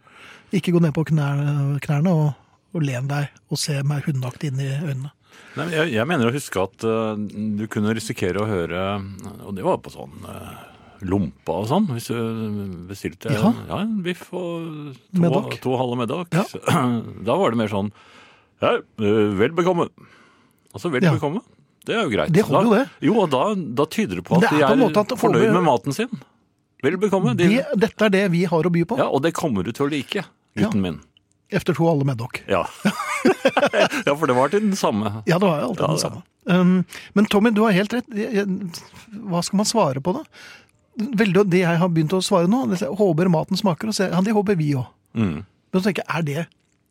[SPEAKER 2] Ikke gå ned på knær, knærne og, og len deg og se meg hundeaktig inn i øynene.
[SPEAKER 3] Nei, men jeg, jeg mener å huske at eh, du kunne risikere å høre Og det var på sånn eh, lompa og sånn, hvis du bestilte
[SPEAKER 2] Ja.
[SPEAKER 3] en- ja, en biff og to,
[SPEAKER 2] Meddak.
[SPEAKER 3] to halve meddak.
[SPEAKER 2] Ja.
[SPEAKER 3] Da var det mer sånn ja, eh, Vel bekomme. Altså vel
[SPEAKER 2] Ja.
[SPEAKER 3] bekomme. Det er jo greit.
[SPEAKER 2] Det holder
[SPEAKER 3] da,
[SPEAKER 2] jo det.
[SPEAKER 3] Jo, og da, da tyder det på
[SPEAKER 2] Det
[SPEAKER 3] at
[SPEAKER 2] er
[SPEAKER 3] de
[SPEAKER 2] på en
[SPEAKER 3] er
[SPEAKER 2] måte at det
[SPEAKER 3] fornøyd
[SPEAKER 2] holder-
[SPEAKER 3] med maten sin. Vel bekomme. De,
[SPEAKER 2] Det, dette er det vi har å by på
[SPEAKER 3] ja, og det kommer du til å like, gutten min.
[SPEAKER 2] efter to alle med dere.
[SPEAKER 3] Ja. ja, for det var til den samme.
[SPEAKER 2] Ja, det var jo alltid
[SPEAKER 3] Ja,
[SPEAKER 2] den
[SPEAKER 3] det-
[SPEAKER 2] samme. Um, men Tommy, du har helt rett. Jeg- jeg- Hva skal man svare på, da? Veldig, det jeg har begynt å svare nå, det er håper maten smaker, og så sier jeg, ja, det håper vi òg.
[SPEAKER 3] Mm.
[SPEAKER 2] Men så tenker jeg, er det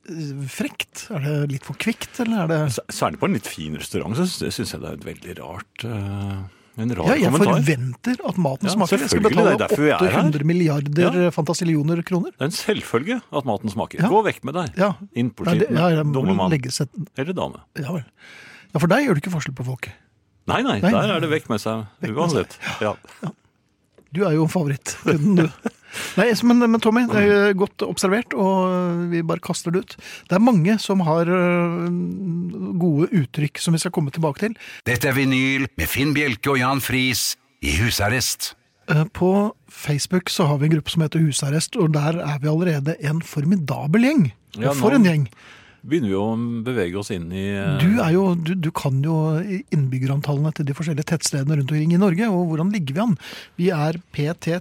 [SPEAKER 2] eh, frekt? Er det litt for kvikt, eller er det
[SPEAKER 3] S- Særlig på en litt fin restaurant så sy- syns jeg det er et veldig rart eh, En rar
[SPEAKER 2] Ja, jeg
[SPEAKER 3] kommentar.
[SPEAKER 2] forventer at maten
[SPEAKER 3] Ja,
[SPEAKER 2] smaker. Jeg skal
[SPEAKER 3] selvfølgelig,
[SPEAKER 2] betale
[SPEAKER 3] det er derfor vi er her.
[SPEAKER 2] 800 milliarder fantasillioner kroner.
[SPEAKER 3] Det er en selvfølge at maten smaker.
[SPEAKER 2] Ja.
[SPEAKER 3] Gå vekk med deg.
[SPEAKER 2] Ja.
[SPEAKER 3] Inn på
[SPEAKER 2] Nei, det,
[SPEAKER 3] skitten,
[SPEAKER 2] ja, jeg må
[SPEAKER 3] dumme mann.
[SPEAKER 2] legge seg-
[SPEAKER 3] Eller dame.
[SPEAKER 2] Ja vel. Ja, for deg gjør det ikke forskjell på folk.
[SPEAKER 3] Nei, nei,
[SPEAKER 2] Nei.
[SPEAKER 3] der er det vekk med seg
[SPEAKER 2] med
[SPEAKER 3] uansett. Ja.
[SPEAKER 2] Du er jo favoritt. du. Nei, men, men Tommy, det er godt observert, og vi bare kaster det ut. Det er mange som har øh, gode uttrykk som vi skal komme tilbake til.
[SPEAKER 1] Dette er vinyl med Finn Bjelke og Jan Friis i husarrest.
[SPEAKER 2] Eh, På Facebook så har vi en gruppe som heter Husarrest, og der er vi allerede en formidabel gjeng.
[SPEAKER 3] Ja,
[SPEAKER 2] Og For
[SPEAKER 3] nå-
[SPEAKER 2] en gjeng!
[SPEAKER 3] Begynner vi å bevege oss inn i eh,
[SPEAKER 2] Du, er jo, du, du kan jo innbyggerantallene til de forskjellige tettstedene rundt omkring i Norge, og hvordan ligger vi an? Vi er PT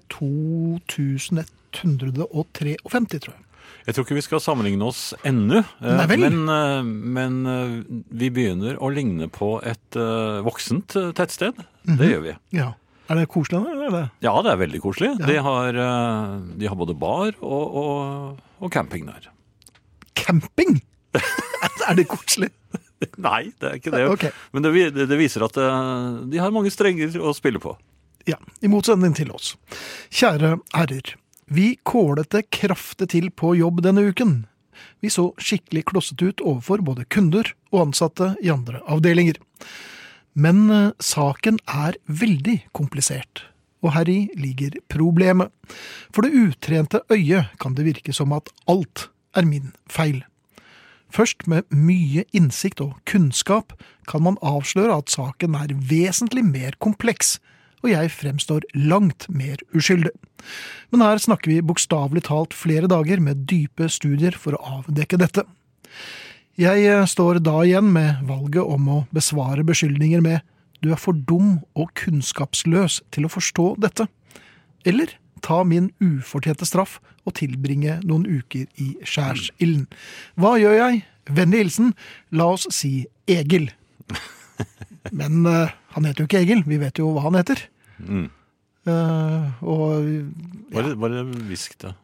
[SPEAKER 2] 2153, tror jeg.
[SPEAKER 3] Jeg tror ikke vi skal sammenligne oss ennå, eh,
[SPEAKER 2] Nei vel.
[SPEAKER 3] men, eh, men eh, vi begynner å ligne på et eh, voksent eh, tettsted.
[SPEAKER 2] Mhm.
[SPEAKER 3] Det gjør vi.
[SPEAKER 2] Ja. Er det koselig, eller? er det?
[SPEAKER 3] Ja, det er veldig koselig. De, har, eh, de har både bar og, og, og camping der.
[SPEAKER 2] Camping! er det koselig?
[SPEAKER 3] Nei, det er ikke det.
[SPEAKER 2] Ok.
[SPEAKER 3] Men det, vi- det viser at eh, de har mange strenger å spille på.
[SPEAKER 2] Ja, i motsetning til oss. Kjære herrer, vi kålet det kraftig til på jobb denne uken. Vi så skikkelig klossete ut overfor både kunder og ansatte i andre avdelinger. Men eh, saken er veldig komplisert, og heri ligger problemet. For det utrente øyet kan det virke som at alt er min feil. Først med mye innsikt og kunnskap kan man avsløre at saken er vesentlig mer kompleks, og jeg fremstår langt mer uskyldig. Men her snakker vi bokstavelig talt flere dager med dype studier for å avdekke dette. Jeg eh, står da igjen med valget om å besvare beskyldninger med du er for dum og kunnskapsløs til å forstå dette, eller ta min ufortjente straff og tilbringe noen uker i skjærsilden. Hva gjør jeg? Vennlig hilsen, la oss si Egil. Men eh, han heter jo ikke Egil, vi vet jo hva han heter. Eh, og
[SPEAKER 3] Bare, bare hvisk det.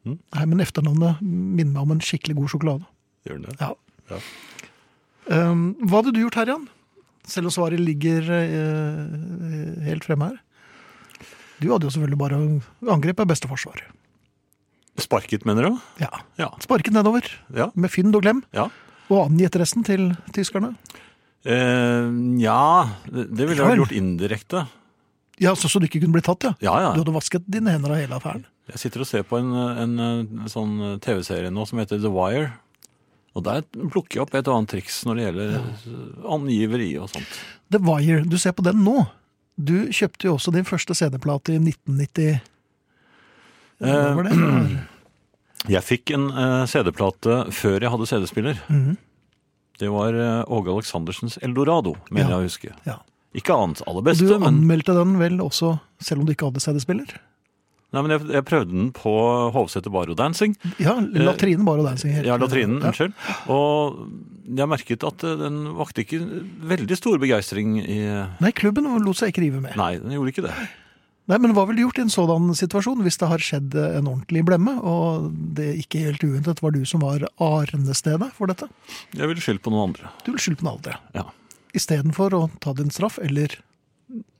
[SPEAKER 2] Nei, men efternavnet minner meg om en skikkelig god sjokolade.
[SPEAKER 3] Gjør det?
[SPEAKER 2] Ja.
[SPEAKER 3] Ja.
[SPEAKER 2] Um, hva hadde du gjort her, Jan? Selv om svaret ligger eh, helt fremme her. Du hadde jo selvfølgelig bare angrep er beste forsvar.
[SPEAKER 3] Sparket, mener du?
[SPEAKER 2] Ja.
[SPEAKER 3] Ja.
[SPEAKER 2] Sparket nedover
[SPEAKER 3] Ja.
[SPEAKER 2] med fynd og glem,
[SPEAKER 3] ja.
[SPEAKER 2] og angitt resten til tyskerne.
[SPEAKER 3] Eh, ja, det det ville
[SPEAKER 2] Ja
[SPEAKER 3] jeg
[SPEAKER 2] vel.
[SPEAKER 3] gjort indirekte.
[SPEAKER 2] Ja, Så, så du ikke kunne bli tatt, ja?
[SPEAKER 3] Ja, ja.
[SPEAKER 2] Du hadde vasket dine hender av hele affæren.
[SPEAKER 3] Jeg sitter og ser på en, en, eh, sånn TV-serie nå som heter The Wire. Og der plukker jeg opp et og annet triks når det gjelder eh, angiveri og sånt.
[SPEAKER 2] The Wire, du ser på den nå. Du kjøpte jo også din første CD-plate i 1990. Hva var det?
[SPEAKER 3] Eh, Jeg fikk en eh, CD-plate før jeg hadde CD-spiller.
[SPEAKER 2] Mhm.
[SPEAKER 3] Det var eh, Åge Aleksandersens Eldorado, mener
[SPEAKER 2] Ja.
[SPEAKER 3] jeg å huske.
[SPEAKER 2] Ja.
[SPEAKER 3] Ikke annet aller
[SPEAKER 2] Og
[SPEAKER 3] beste,
[SPEAKER 2] du
[SPEAKER 3] men,
[SPEAKER 2] anmeldte den vel også, selv om du ikke hadde CD-spiller?
[SPEAKER 3] nei, men jeg, jeg prøvde den på Hovseter Bar og Dancing.
[SPEAKER 2] Ja, latrinen bare og der. sier jeg.
[SPEAKER 3] Eh, Ja, latrinen,
[SPEAKER 2] Ja.
[SPEAKER 3] unnskyld. Og jeg merket at eh, den vakte ikke veldig stor begeistring i
[SPEAKER 2] Nei, klubben lot seg ikke rive med. Nei.
[SPEAKER 3] Nei, den gjorde ikke det.
[SPEAKER 2] Men hva ville du gjort i en sådan situasjon, hvis det har skjedd en ordentlig blemme, og det ikke helt uventet var du som var arnestedet for dette?
[SPEAKER 3] Jeg ville skyldt på noen andre.
[SPEAKER 2] Du vil skylde på den aldre.
[SPEAKER 3] Ja.
[SPEAKER 2] Istedenfor å ta din straff, eller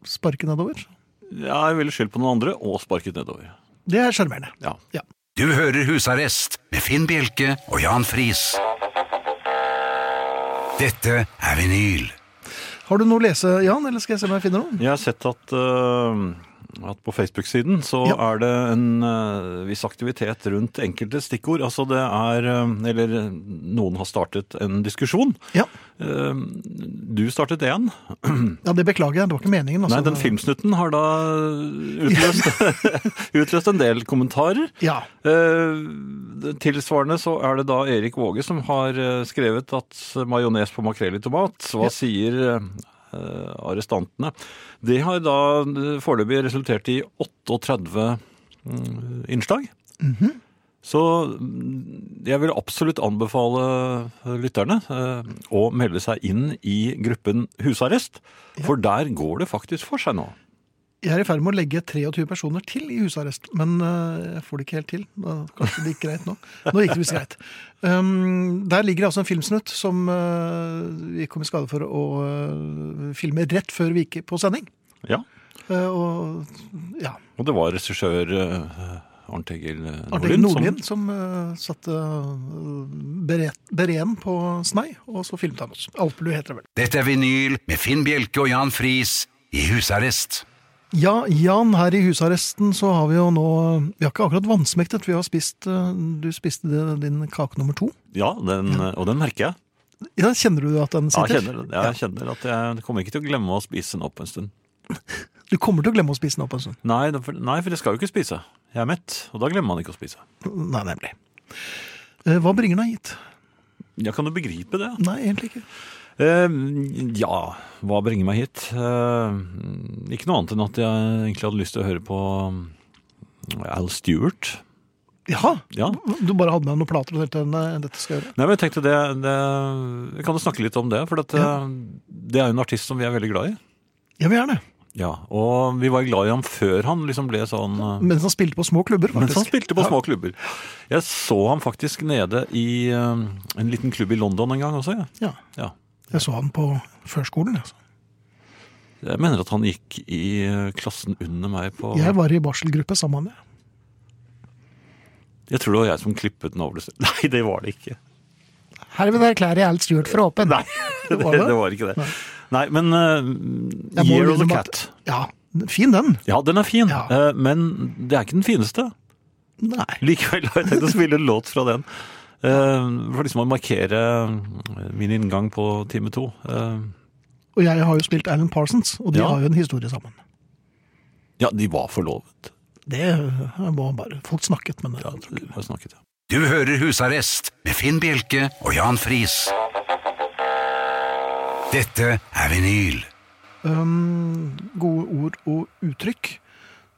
[SPEAKER 2] sparke nedover.
[SPEAKER 3] ja, jeg ville skyldt på noen andre og sparket nedover.
[SPEAKER 2] Det er sjarmerende.
[SPEAKER 3] Ja.
[SPEAKER 2] Ja.
[SPEAKER 1] Du hører Husarrest med Finn Bjelke og Jan Friis. Dette er vinyl.
[SPEAKER 2] Har du noe å lese, Jan, eller skal jeg se om jeg finner noe?
[SPEAKER 3] Jeg har sett at, eh, at på Facebook-siden så
[SPEAKER 2] Ja.
[SPEAKER 3] er det en eh, viss aktivitet rundt enkelte stikkord. Altså det er eh, Eller eh, noen har startet en diskusjon.
[SPEAKER 2] Ja,
[SPEAKER 3] Eh, Du startet én.
[SPEAKER 2] ja det beklager jeg. Det var ikke meningen. altså.
[SPEAKER 3] Nei, den filmsnutten har da utløst, utløst en del kommentarer.
[SPEAKER 2] Ja.
[SPEAKER 3] Eh, det Tilsvarende så er det da Erik Våge som har eh, skrevet at majones på makrell i tomat. Hva sier eh, arrestantene? Det har da eh, foreløpig resultert i 38 mm, innslag. Så mm, jeg vil absolutt anbefale lytterne eh, å melde seg inn i gruppen husarrest. For der går det faktisk for seg nå.
[SPEAKER 2] Jeg er i ferd med å legge 23 personer til i husarrest, men øh, jeg får det ikke helt til. Da, kanskje det gikk greit nå. Nå gikk det visst greit. Um, der ligger det altså en filmsnutt som øh, vi kom i skade for å øh, filme rett før vi gikk på sending.
[SPEAKER 3] Ja.
[SPEAKER 2] Eh, og ja,
[SPEAKER 3] Og det var regissør eh, Arnt Egil
[SPEAKER 2] Arnt Egil
[SPEAKER 3] Nordlien. som-
[SPEAKER 2] Nordlien som, øh, satte øh, beret- bereen på snei, og så filmet han oss. Alpelu heter det vel.
[SPEAKER 1] Dette er vinyl med Finn Bjelke og Jan Friis i husarrest.
[SPEAKER 2] Ja, Jan, her i husarresten så har vi jo nå Vi har ikke akkurat vansmektet. Vi har spist eh, Du spiste det- din kake nummer to.
[SPEAKER 3] Ja, den, og den merker jeg.
[SPEAKER 2] Ja, Kjenner du at den
[SPEAKER 3] Ja,
[SPEAKER 2] sitter?
[SPEAKER 3] jeg, kjenner, den. jeg kjenner at jeg kommer ikke til å glemme å spise den opp en stund.
[SPEAKER 2] Du kommer til å glemme å spise den opp en stund.
[SPEAKER 3] Nei, da- for, nei, for jeg skal jo ikke spise. Jeg er mett, og da glemmer man ikke å spise.
[SPEAKER 2] Nei, nemlig. Eh, Hva bringer deg hit?
[SPEAKER 3] Ja, Kan du begripe det?
[SPEAKER 2] Nei, egentlig ikke.
[SPEAKER 3] Eh, ja, hva bringer meg hit? Eh, ikke noe annet enn at jeg egentlig hadde lyst til å høre på mm, Al Stewart.
[SPEAKER 2] Jaha!
[SPEAKER 3] Ja.
[SPEAKER 2] Du bare hadde med noen plater og tenkte nei, dette skal jeg gjøre.
[SPEAKER 3] Nei, men jeg tenkte det, det Vi kan jo snakke litt om det, for at, eh, det er jo en artist som vi er veldig glad i.
[SPEAKER 2] Jeg vil gjerne.
[SPEAKER 3] Ja, Og vi var glad i ham før han liksom ble sånn eh,
[SPEAKER 2] Mens han spilte på små klubber, faktisk.
[SPEAKER 3] Mens han spilte på små klubber. Jeg så ham faktisk nede i eh, en liten klubb i London en gang også. Ja.
[SPEAKER 2] Ja.
[SPEAKER 3] Ja.
[SPEAKER 2] Jeg så han på førskolen. Altså.
[SPEAKER 3] Jeg mener at han gikk i eh, klassen under meg på
[SPEAKER 2] Jeg var i barselgruppe sammen med
[SPEAKER 3] Jeg tror det var jeg som klippet den over det stedet. Nei, det var det ikke.
[SPEAKER 2] Herved erklærer jeg alt stjålet for åpen. Nei,
[SPEAKER 3] Det var, det? var ikke det. Nei, men eh,
[SPEAKER 2] Jeg må
[SPEAKER 3] Year of the
[SPEAKER 2] innrømme
[SPEAKER 3] Cat.
[SPEAKER 2] Ja, fin den.
[SPEAKER 3] Ja, den er fin,
[SPEAKER 2] Ja.
[SPEAKER 3] eh, men det er ikke den fineste.
[SPEAKER 2] Nei.
[SPEAKER 3] Likevel har jeg tenkt å spille en låt fra den. Eh, for liksom å markere eh, min inngang på time to. Eh,
[SPEAKER 2] Og jeg har jo spilt Alan Parsons, og de
[SPEAKER 3] Ja.
[SPEAKER 2] har jo en historie sammen.
[SPEAKER 3] ja, de var forlovet.
[SPEAKER 2] Det eh, var bare Folk snakket, men
[SPEAKER 3] Ja, de har snakket, ja.
[SPEAKER 1] Du hører Husarrest med Finn Bjelke og Jan Friis. Dette er vinyl.
[SPEAKER 2] um, Gode ord og uttrykk.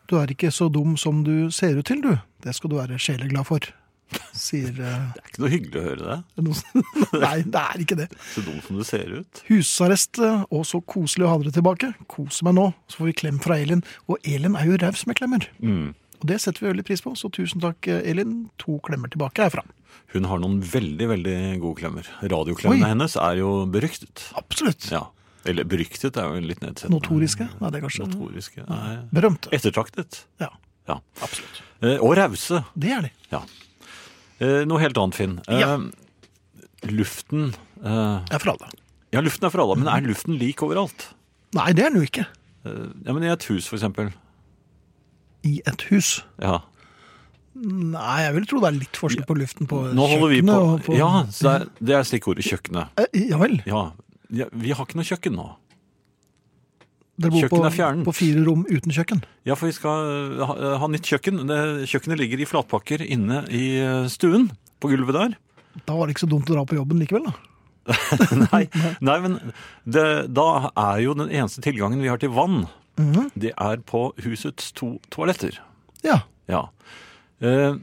[SPEAKER 2] Du er ikke så dum som du ser ut til, du. Det skal du være sjeleglad for. Sier eh,
[SPEAKER 3] Det er ikke noe hyggelig å høre det.
[SPEAKER 2] noen. Nei, det er ikke det.
[SPEAKER 3] Så dum som du ser ut.
[SPEAKER 2] Husarrest, eh, og så koselig å ha dere tilbake. Kos meg nå, så får vi klem fra Elin. Og Elin er jo raus med klemmer. Og det setter vi veldig pris på, så tusen takk, eh, Elin. To klemmer tilbake herfra.
[SPEAKER 3] Hun har noen veldig, veldig gode klemmer.
[SPEAKER 2] Oi.
[SPEAKER 3] Radioklemmene hennes er jo beryktet.
[SPEAKER 2] Absolutt.
[SPEAKER 3] Ja. Eller beryktet er jo litt nedsettende.
[SPEAKER 2] Notoriske? Nei, det er kanskje
[SPEAKER 3] Notoriske. Nei.
[SPEAKER 2] Berømte.
[SPEAKER 3] Ettertraktet.
[SPEAKER 2] Ja,
[SPEAKER 3] Ja.
[SPEAKER 2] absolutt.
[SPEAKER 3] Eh, Og rause.
[SPEAKER 2] Det er de.
[SPEAKER 3] Ja. Eh, Noe helt annet, Finn. Eh,
[SPEAKER 2] Ja.
[SPEAKER 3] Luften eh,
[SPEAKER 2] Det er for alle.
[SPEAKER 3] Ja, luften er for alle, men er luften lik overalt?
[SPEAKER 2] Nei, det er den jo ikke.
[SPEAKER 3] Eh, Ja, men I et hus, for eksempel.
[SPEAKER 2] I et hus.
[SPEAKER 3] Ja.
[SPEAKER 2] Nei, jeg vil tro det er litt forskjell på luften på
[SPEAKER 3] Nå holder vi på,
[SPEAKER 2] kjøkkenet og på
[SPEAKER 3] Ja, så det er, det er stikkordet kjøkkenet.
[SPEAKER 2] Eh, Ja vel.
[SPEAKER 3] Ja. ja. Vi har ikke noe kjøkken nå.
[SPEAKER 2] Dere bor
[SPEAKER 3] Kjøkkenet er
[SPEAKER 2] på,
[SPEAKER 3] fjernt.
[SPEAKER 2] på fire rom uten kjøkken.
[SPEAKER 3] Ja, for vi skal eh, ha, ha nytt kjøkken. Det, kjøkkenet ligger i flatpakker inne i eh, stuen. På gulvet der.
[SPEAKER 2] Da var det ikke så dumt å dra på jobben likevel, da.
[SPEAKER 3] Nei, nei men det, da er jo den eneste tilgangen vi har til vann, det er på husets to toaletter.
[SPEAKER 2] Ja.
[SPEAKER 3] Ja. Eh,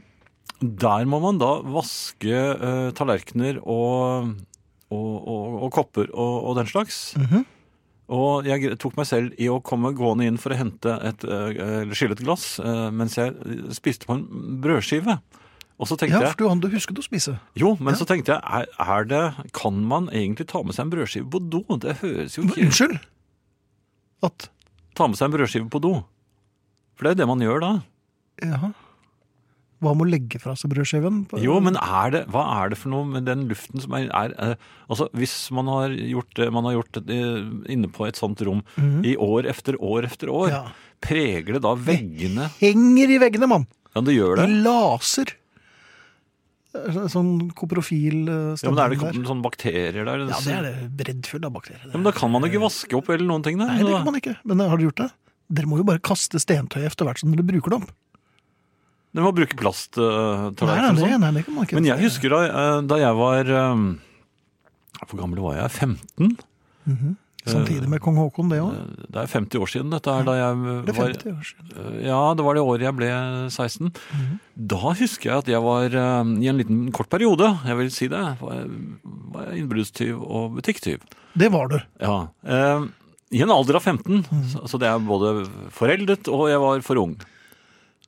[SPEAKER 3] der må man da vaske eh, tallerkener og, og, og, og kopper og, og den slags.
[SPEAKER 2] Mhm.
[SPEAKER 3] Og jeg tok meg selv i å komme gående inn for å hente et eh, eller skylle et glass eh, mens jeg spiste på en brødskive. Og så tenkte
[SPEAKER 2] ja,
[SPEAKER 3] jeg
[SPEAKER 2] for du, han- du husket å spise.
[SPEAKER 3] jo, men så tenkte jeg, er, er det, kan man egentlig ta med seg en brødskive på do? Det høres jo
[SPEAKER 2] Men
[SPEAKER 3] ikke
[SPEAKER 2] Unnskyld! At
[SPEAKER 3] Ta med seg en brødskive på do. For det er jo det man gjør da.
[SPEAKER 2] Ja. Hva med å legge fra seg brødskiven?
[SPEAKER 3] Jo, men er det, hva er det for noe med den luften som er, er eh, Altså, hvis man har gjort det man har gjort det, eh, inne på et sånt rom i år efter år efter år,
[SPEAKER 2] Mhm. Ja.
[SPEAKER 3] preger det da veggene
[SPEAKER 2] Henger i veggene, mann!
[SPEAKER 3] Ja, det gjør det.
[SPEAKER 2] I laser! Det er Sånn koprofil eh,
[SPEAKER 3] Ja, men er det
[SPEAKER 2] stemning
[SPEAKER 3] ikke sånne bakterier der?
[SPEAKER 2] Ja, det er det. Breddfull av bakterier.
[SPEAKER 3] Ja, men da kan man jo ikke vaske opp eller noen ting der.
[SPEAKER 2] Nei, det kan man ikke. Men eh, har dere gjort det? Dere må jo bare kaste stentøy etter hvert som dere bruker dem.
[SPEAKER 3] Dere må bruke
[SPEAKER 2] Nei,
[SPEAKER 3] plasttallerkener
[SPEAKER 2] nei,
[SPEAKER 3] og
[SPEAKER 2] det,
[SPEAKER 3] sånn.
[SPEAKER 2] nei, det kan man ikke.
[SPEAKER 3] Men jeg husker da, eh, da jeg var eh, Hvor gammel var jeg? 15?
[SPEAKER 2] Samtidig med kong Haakon, det òg.
[SPEAKER 3] Eh, Det er 50 år siden dette er da jeg
[SPEAKER 2] Det er
[SPEAKER 3] var
[SPEAKER 2] 50 år siden.
[SPEAKER 3] Ja, det var det året jeg ble 16. Da husker jeg at jeg var eh, i en liten kort periode, jeg vil si det, var jeg- var jeg innbruddstyv og butikktyv.
[SPEAKER 2] Det var du.
[SPEAKER 3] Ja. eh, I en alder av 15, så, så det er både foreldet og jeg var for ung.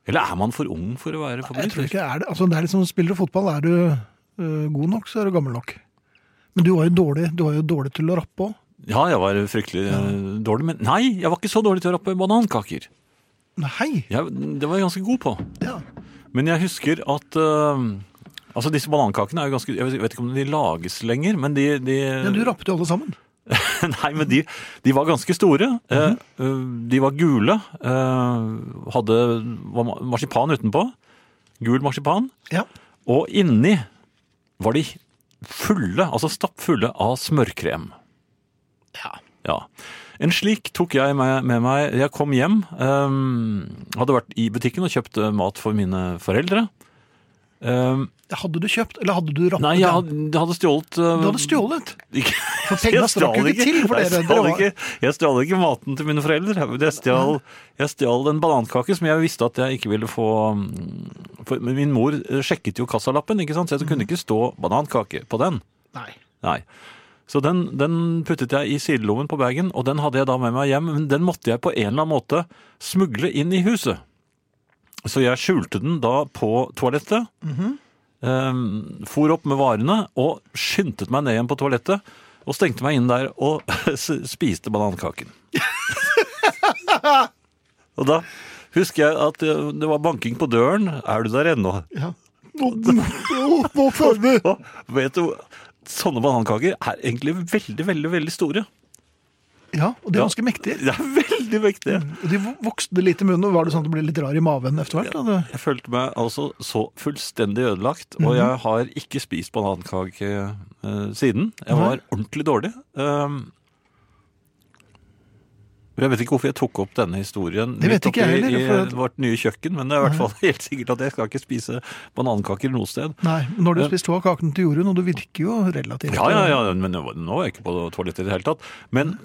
[SPEAKER 3] Eller er man for ung for å være
[SPEAKER 2] Jeg tror
[SPEAKER 3] forbryter?
[SPEAKER 2] ikke det er det. Altså, det er liksom, spiller du fotball, er du øh, god nok, så er du gammel nok. Men du var jo dårlig, du var jo dårlig til å rappe òg.
[SPEAKER 3] Ja, jeg var fryktelig eh, dårlig, men nei, jeg var ikke så dårlig til å rappe banankaker.
[SPEAKER 2] Nei!
[SPEAKER 3] Jeg, det var jeg ganske god på.
[SPEAKER 2] Ja.
[SPEAKER 3] Men jeg husker at eh, Altså, disse banankakene er jo ganske Jeg vet ikke om de lages lenger, men de, de
[SPEAKER 2] Men du rappet jo alle sammen.
[SPEAKER 3] Nei, men de, de var ganske store.
[SPEAKER 2] Mhm.
[SPEAKER 3] Eh, eh, De var gule. eh, Hadde var ma- marsipan utenpå. Gul marsipan.
[SPEAKER 2] Ja.
[SPEAKER 3] Og inni var de fulle, altså stappfulle av smørkrem.
[SPEAKER 2] ja.
[SPEAKER 3] Ja. En slik tok jeg med, med meg Jeg kom hjem, eh, hadde vært i butikken og kjøpt eh, mat for mine foreldre. Eh,
[SPEAKER 2] Hadde du kjøpt, eller hadde du rappet?
[SPEAKER 3] nei,
[SPEAKER 2] den?
[SPEAKER 3] jeg hadde, jeg hadde stjålet eh,
[SPEAKER 2] Du hadde stjålet.
[SPEAKER 3] ikke-
[SPEAKER 2] For pengene
[SPEAKER 3] Jeg
[SPEAKER 2] strakk jo
[SPEAKER 3] stjal
[SPEAKER 2] ikke til for
[SPEAKER 3] Nei, jeg
[SPEAKER 2] dere.
[SPEAKER 3] stjal
[SPEAKER 2] Dere var-
[SPEAKER 3] ikke, jeg stjal ikke maten til mine foreldre. men Jeg stjal, jeg stjal en banankake som jeg visste at jeg ikke ville få mm, for, men Min mor eh, sjekket jo kassalappen, ikke sant? så jeg kunne ikke stå banankake på den.
[SPEAKER 2] Mm. Nei.
[SPEAKER 3] Nei. Så den, den puttet jeg i sidelommen på bagen, og den hadde jeg da med meg hjem. Men den måtte jeg på en eller annen måte smugle inn i huset. Så jeg skjulte den da på toalettet. eh, for opp med varene og skyndte meg ned igjen på toalettet. Og stengte meg inn der og s- spiste banankaken. og da husker jeg at eh, det var banking på døren. Er du der ennå?
[SPEAKER 2] Ja. Våk forme!
[SPEAKER 3] Og vet du, sånne banankaker er egentlig veldig, veldig, veldig store.
[SPEAKER 2] Ja, og de er
[SPEAKER 3] Ja.
[SPEAKER 2] ganske mektige.
[SPEAKER 3] De er veldig vektige.
[SPEAKER 2] Og De vokste litt i munnen, og var det sånn at du ble litt rar i maven etter hvert? da? Det- Mhm.
[SPEAKER 3] Jeg følte meg altså så fullstendig ødelagt, og jeg har ikke spist banankake eh, siden. Jeg var ordentlig dårlig. Um, jeg vet ikke hvorfor jeg tok opp denne historien
[SPEAKER 2] Det vet
[SPEAKER 3] midt
[SPEAKER 2] ikke jeg
[SPEAKER 3] oppi
[SPEAKER 2] heller, for
[SPEAKER 3] i
[SPEAKER 2] at-
[SPEAKER 3] vårt nye kjøkken, men det er i hvert fall helt sikkert at jeg skal ikke spise banankaker noe sted.
[SPEAKER 2] Nei, når du spiste to av kakene til Jorunn, og du virker jo relativt
[SPEAKER 3] Ja, ja, ja, men nå nå er jeg ikke på toalettet i det hele tatt. Men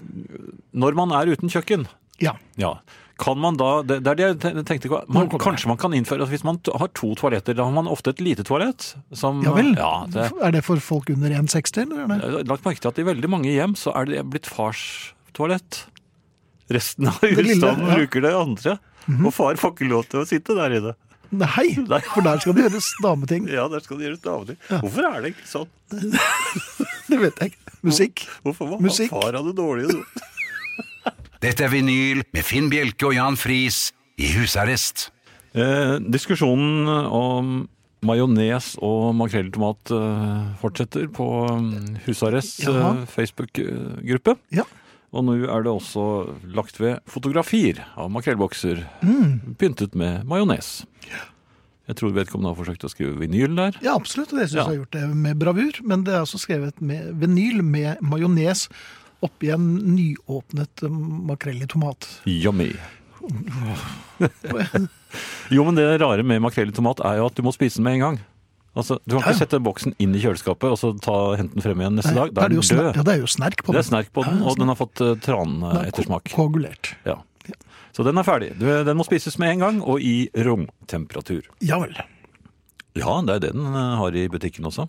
[SPEAKER 3] når man er uten kjøkken,
[SPEAKER 2] Ja,
[SPEAKER 3] Ja. Kan man da, det, det er det jeg te- tenkte på. Man,
[SPEAKER 2] Nå kommer
[SPEAKER 3] kanskje man kan innføre at Hvis man t- har to toaletter, da har man ofte et lite toalett. Som,
[SPEAKER 2] ja vel.
[SPEAKER 3] Ja, det,
[SPEAKER 2] Er det for folk under 1,60, eller? er det-
[SPEAKER 3] jeg har lagt merke til at i veldig mange hjem så er det blitt fars toalett. Resten av
[SPEAKER 2] lille, ja.
[SPEAKER 3] husstanden
[SPEAKER 2] Mhm.
[SPEAKER 3] bruker det andre. Og far får ikke lov til å sitte der inne.
[SPEAKER 2] Nei,
[SPEAKER 3] Nei.
[SPEAKER 2] for der skal det gjøres dameting.
[SPEAKER 3] Ja, der skal det gjøres daglig. Hvorfor er det ikke sånn?
[SPEAKER 2] Det vet jeg ikke. Musikk.
[SPEAKER 3] Hvorfor var
[SPEAKER 2] Musikk.
[SPEAKER 3] far av det dårlige?
[SPEAKER 1] Dette er vinyl med Finn Bjelke og Jan Friis i husarrest.
[SPEAKER 3] Eh, diskusjonen om majones og makrelltomat eh, fortsetter på eh, Husarrest eh,
[SPEAKER 2] Jaha.
[SPEAKER 3] Facebook-gruppe.
[SPEAKER 2] Ja.
[SPEAKER 3] Og nå er det også lagt ved fotografier av makrellbokser
[SPEAKER 2] Mm.
[SPEAKER 3] pyntet med majones. Jeg tror vedkommende har forsøkt å skrive vinyl der.
[SPEAKER 2] ja, absolutt. Og det syns
[SPEAKER 3] Ja.
[SPEAKER 2] jeg har gjort det med bravur. Men det er også skrevet med vinyl med majones oppi en nyåpnet eh, makrell i tomat.
[SPEAKER 3] Yummy. jo, men det rare med makrell i tomat er jo at du må spise den med en gang. Altså, Du kan
[SPEAKER 2] Ja, ja.
[SPEAKER 3] ikke sette boksen inn i kjøleskapet og så ta, hente den frem igjen neste dag. Da
[SPEAKER 2] det
[SPEAKER 3] er
[SPEAKER 2] jo
[SPEAKER 3] den
[SPEAKER 2] sner-
[SPEAKER 3] død.
[SPEAKER 2] ja, det er jo snerk på
[SPEAKER 3] Det
[SPEAKER 2] den.
[SPEAKER 3] er snerk på den,
[SPEAKER 2] Ja,
[SPEAKER 3] og
[SPEAKER 2] snerk.
[SPEAKER 3] den har fått eh,
[SPEAKER 2] Den er
[SPEAKER 3] tranettersmak.
[SPEAKER 2] ko- Koagulert.
[SPEAKER 3] Ja. Så den er ferdig. Du, Den må spises med en gang, og i romtemperatur.
[SPEAKER 2] Ja vel.
[SPEAKER 3] Ja, det er det den eh, har i butikken også.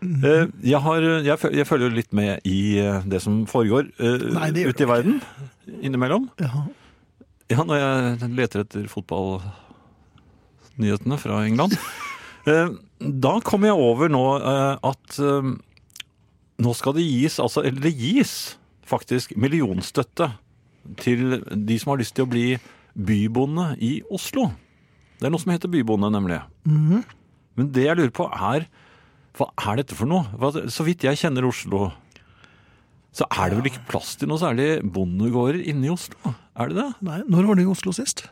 [SPEAKER 2] Mhm.
[SPEAKER 3] Eh, Jeg, har, jeg, føl- jeg følger jo litt med i eh, det som foregår eh,
[SPEAKER 2] Nei, det gjør
[SPEAKER 3] ute i verden innimellom.
[SPEAKER 2] Ja.
[SPEAKER 3] Ja, når jeg leter etter fotballnyhetene fra England. Eh, Da kommer jeg over nå eh, at eh, nå skal det gis, altså, eller det gis faktisk millionstøtte til de som har lyst til å bli bybonde i Oslo. Det er noe som heter bybonde, nemlig. Men det jeg lurer på er, hva er dette for noe? Hva, så vidt jeg kjenner Oslo, så er det vel ikke plass til noe særlig bondegårder inne i Oslo? Er det det?
[SPEAKER 2] Nei, når var du i Oslo sist?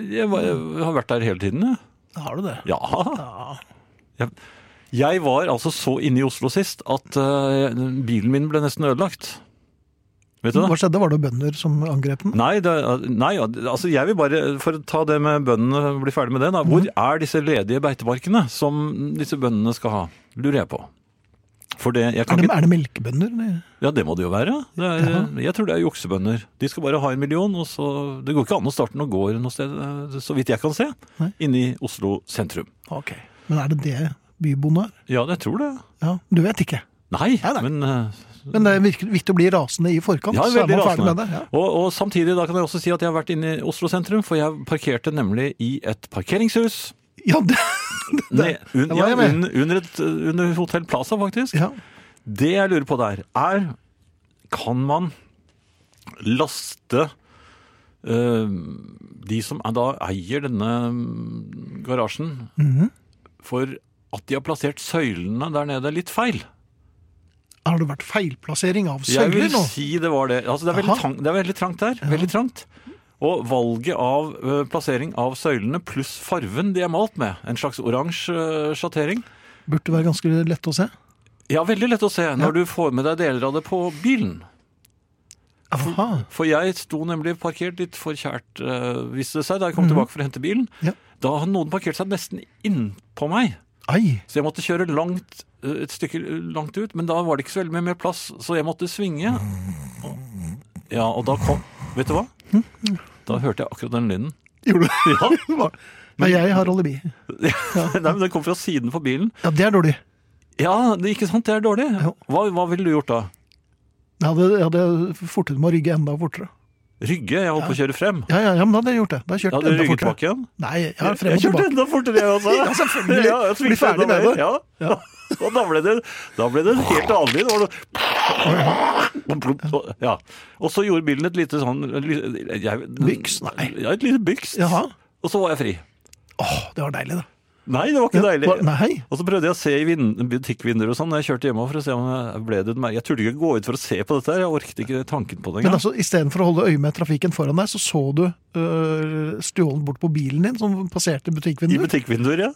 [SPEAKER 3] Jeg, var, jeg har vært der hele tiden, jeg.
[SPEAKER 2] Har du det?
[SPEAKER 3] Ja. Jeg, jeg var altså så inne i Oslo sist at eh, bilen min ble nesten ødelagt. Vet du
[SPEAKER 2] Hva
[SPEAKER 3] det?
[SPEAKER 2] skjedde? Var det bønder som angrep den?
[SPEAKER 3] Nei, det, nei, altså jeg vil bare, for å ta det med bøndene, bli ferdig med det da. Hvor
[SPEAKER 2] Mm-hmm.
[SPEAKER 3] er disse ledige beitemarkene som disse bøndene skal ha? Lurer jeg på. For det, jeg
[SPEAKER 2] Er
[SPEAKER 3] kan
[SPEAKER 2] det,
[SPEAKER 3] ikke...
[SPEAKER 2] er det melkebønder? eller?
[SPEAKER 3] Ja, det må det jo være. Det er, Jeg tror det er juksebønder. De skal bare ha en million, og så Det går ikke an å starte noen gård noe sted, eh, så vidt jeg kan se,
[SPEAKER 2] Nei.
[SPEAKER 3] inne i Oslo sentrum.
[SPEAKER 2] Ok. Men er det det bybonde er?
[SPEAKER 3] Ja, jeg tror det.
[SPEAKER 2] Ja, du vet ikke.
[SPEAKER 3] Nei,
[SPEAKER 2] Nei, nei.
[SPEAKER 3] men eh,
[SPEAKER 2] Men det er virke- viktig å bli rasende i forkant,
[SPEAKER 3] ja,
[SPEAKER 2] så er
[SPEAKER 3] veldig
[SPEAKER 2] man ferdig
[SPEAKER 3] rasende.
[SPEAKER 2] med det. Ja.
[SPEAKER 3] Og, og samtidig da kan jeg også si at jeg har vært inne i Oslo sentrum, for jeg parkerte nemlig i et parkeringshus.
[SPEAKER 2] Ja, det,
[SPEAKER 3] Ned, un,
[SPEAKER 2] der var
[SPEAKER 3] ja,
[SPEAKER 2] jeg med.
[SPEAKER 3] un, under, et, eh, under Hotell Plaza, faktisk.
[SPEAKER 2] ja.
[SPEAKER 3] Det jeg lurer på der, er Kan man laste eh, de som er, da eier denne mm, garasjen,
[SPEAKER 2] Mhm.
[SPEAKER 3] for at de har plassert søylene der nede litt feil?
[SPEAKER 2] Har det vært feilplassering av
[SPEAKER 3] Jeg
[SPEAKER 2] søyler
[SPEAKER 3] vil
[SPEAKER 2] nå?
[SPEAKER 3] si det var det. Altså, det, er veldig
[SPEAKER 2] Jaha.
[SPEAKER 3] trang, det er veldig trangt der. Veldig trangt. Og valget av ø, plassering av søylene pluss farven de er malt med, en slags oransje ø, sjattering,
[SPEAKER 2] Burde være ganske lett å se.
[SPEAKER 3] ja, veldig lett å se når du får med deg deler av det på bilen.
[SPEAKER 2] Aha.
[SPEAKER 3] For jeg sto nemlig parkert litt for kjært, ø, viste det seg, da jeg kom tilbake for å hente bilen.
[SPEAKER 2] Mhm. Ja.
[SPEAKER 3] Da hadde noen parkert seg nesten innpå meg.
[SPEAKER 2] Ai.
[SPEAKER 3] Så jeg måtte kjøre langt, eh, et stykke langt ut, men da var det ikke så veldig mye mer plass, så jeg måtte svinge. Og- Ja, og da kom Vet du hva? Da hørte jeg akkurat den lyden.
[SPEAKER 2] Gjorde du det? Ja. Nei, jeg har alibi.
[SPEAKER 3] Nei, men Den kom fra siden på bilen.
[SPEAKER 2] Ja, det er dårlig.
[SPEAKER 3] Ja, det, ikke sant? Det er dårlig.
[SPEAKER 2] Jo.
[SPEAKER 3] Hva, hva ville du gjort da?
[SPEAKER 2] Jeg hadde, jeg hadde fortet meg å rygge enda fortere.
[SPEAKER 3] Rygge? Jeg holdt på å kjøre frem.
[SPEAKER 2] Ja, ja, ja, men da hadde jeg gjort det. Da hadde jeg
[SPEAKER 3] Da
[SPEAKER 2] kjørt
[SPEAKER 3] hadde du
[SPEAKER 2] enda
[SPEAKER 3] rygget
[SPEAKER 2] fortere.
[SPEAKER 3] bak igjen.
[SPEAKER 2] Nei, jeg har frem
[SPEAKER 3] Jeg
[SPEAKER 2] og
[SPEAKER 3] kjørte
[SPEAKER 2] tilbake.
[SPEAKER 3] enda fortere, jeg også.
[SPEAKER 2] Ja, selvfølgelig.
[SPEAKER 3] jeg
[SPEAKER 2] Bli
[SPEAKER 3] svingte
[SPEAKER 2] ferdig
[SPEAKER 3] enda
[SPEAKER 2] med
[SPEAKER 3] mer.
[SPEAKER 2] det.
[SPEAKER 3] Ja. Og da ble det, da ble det en helt annen lyd. Det var noe- Ja. Og så gjorde bilen et lite sånn jeg,
[SPEAKER 2] Byks? Nei.
[SPEAKER 3] Ja, et lite byks.
[SPEAKER 2] Jaha.
[SPEAKER 3] Og så var jeg fri.
[SPEAKER 2] Åh, det var deilig, da.
[SPEAKER 3] Nei, det var ikke
[SPEAKER 2] Ja,
[SPEAKER 3] deilig.
[SPEAKER 2] hva- Nei.
[SPEAKER 3] Og så prøvde jeg å se i vind- butikkvinduer og sånn når jeg kjørte hjemme for å se om jeg ble det mer. Jeg turte ikke gå ut for å se på dette her. Jeg orket ikke tanken på
[SPEAKER 2] Men
[SPEAKER 3] det engang.
[SPEAKER 2] altså, istedenfor å holde øye med trafikken foran deg, så så du øh, stjålen bort på bilen din som passerte
[SPEAKER 3] I
[SPEAKER 2] butikkvinduet?
[SPEAKER 3] butikkvinduer, ja.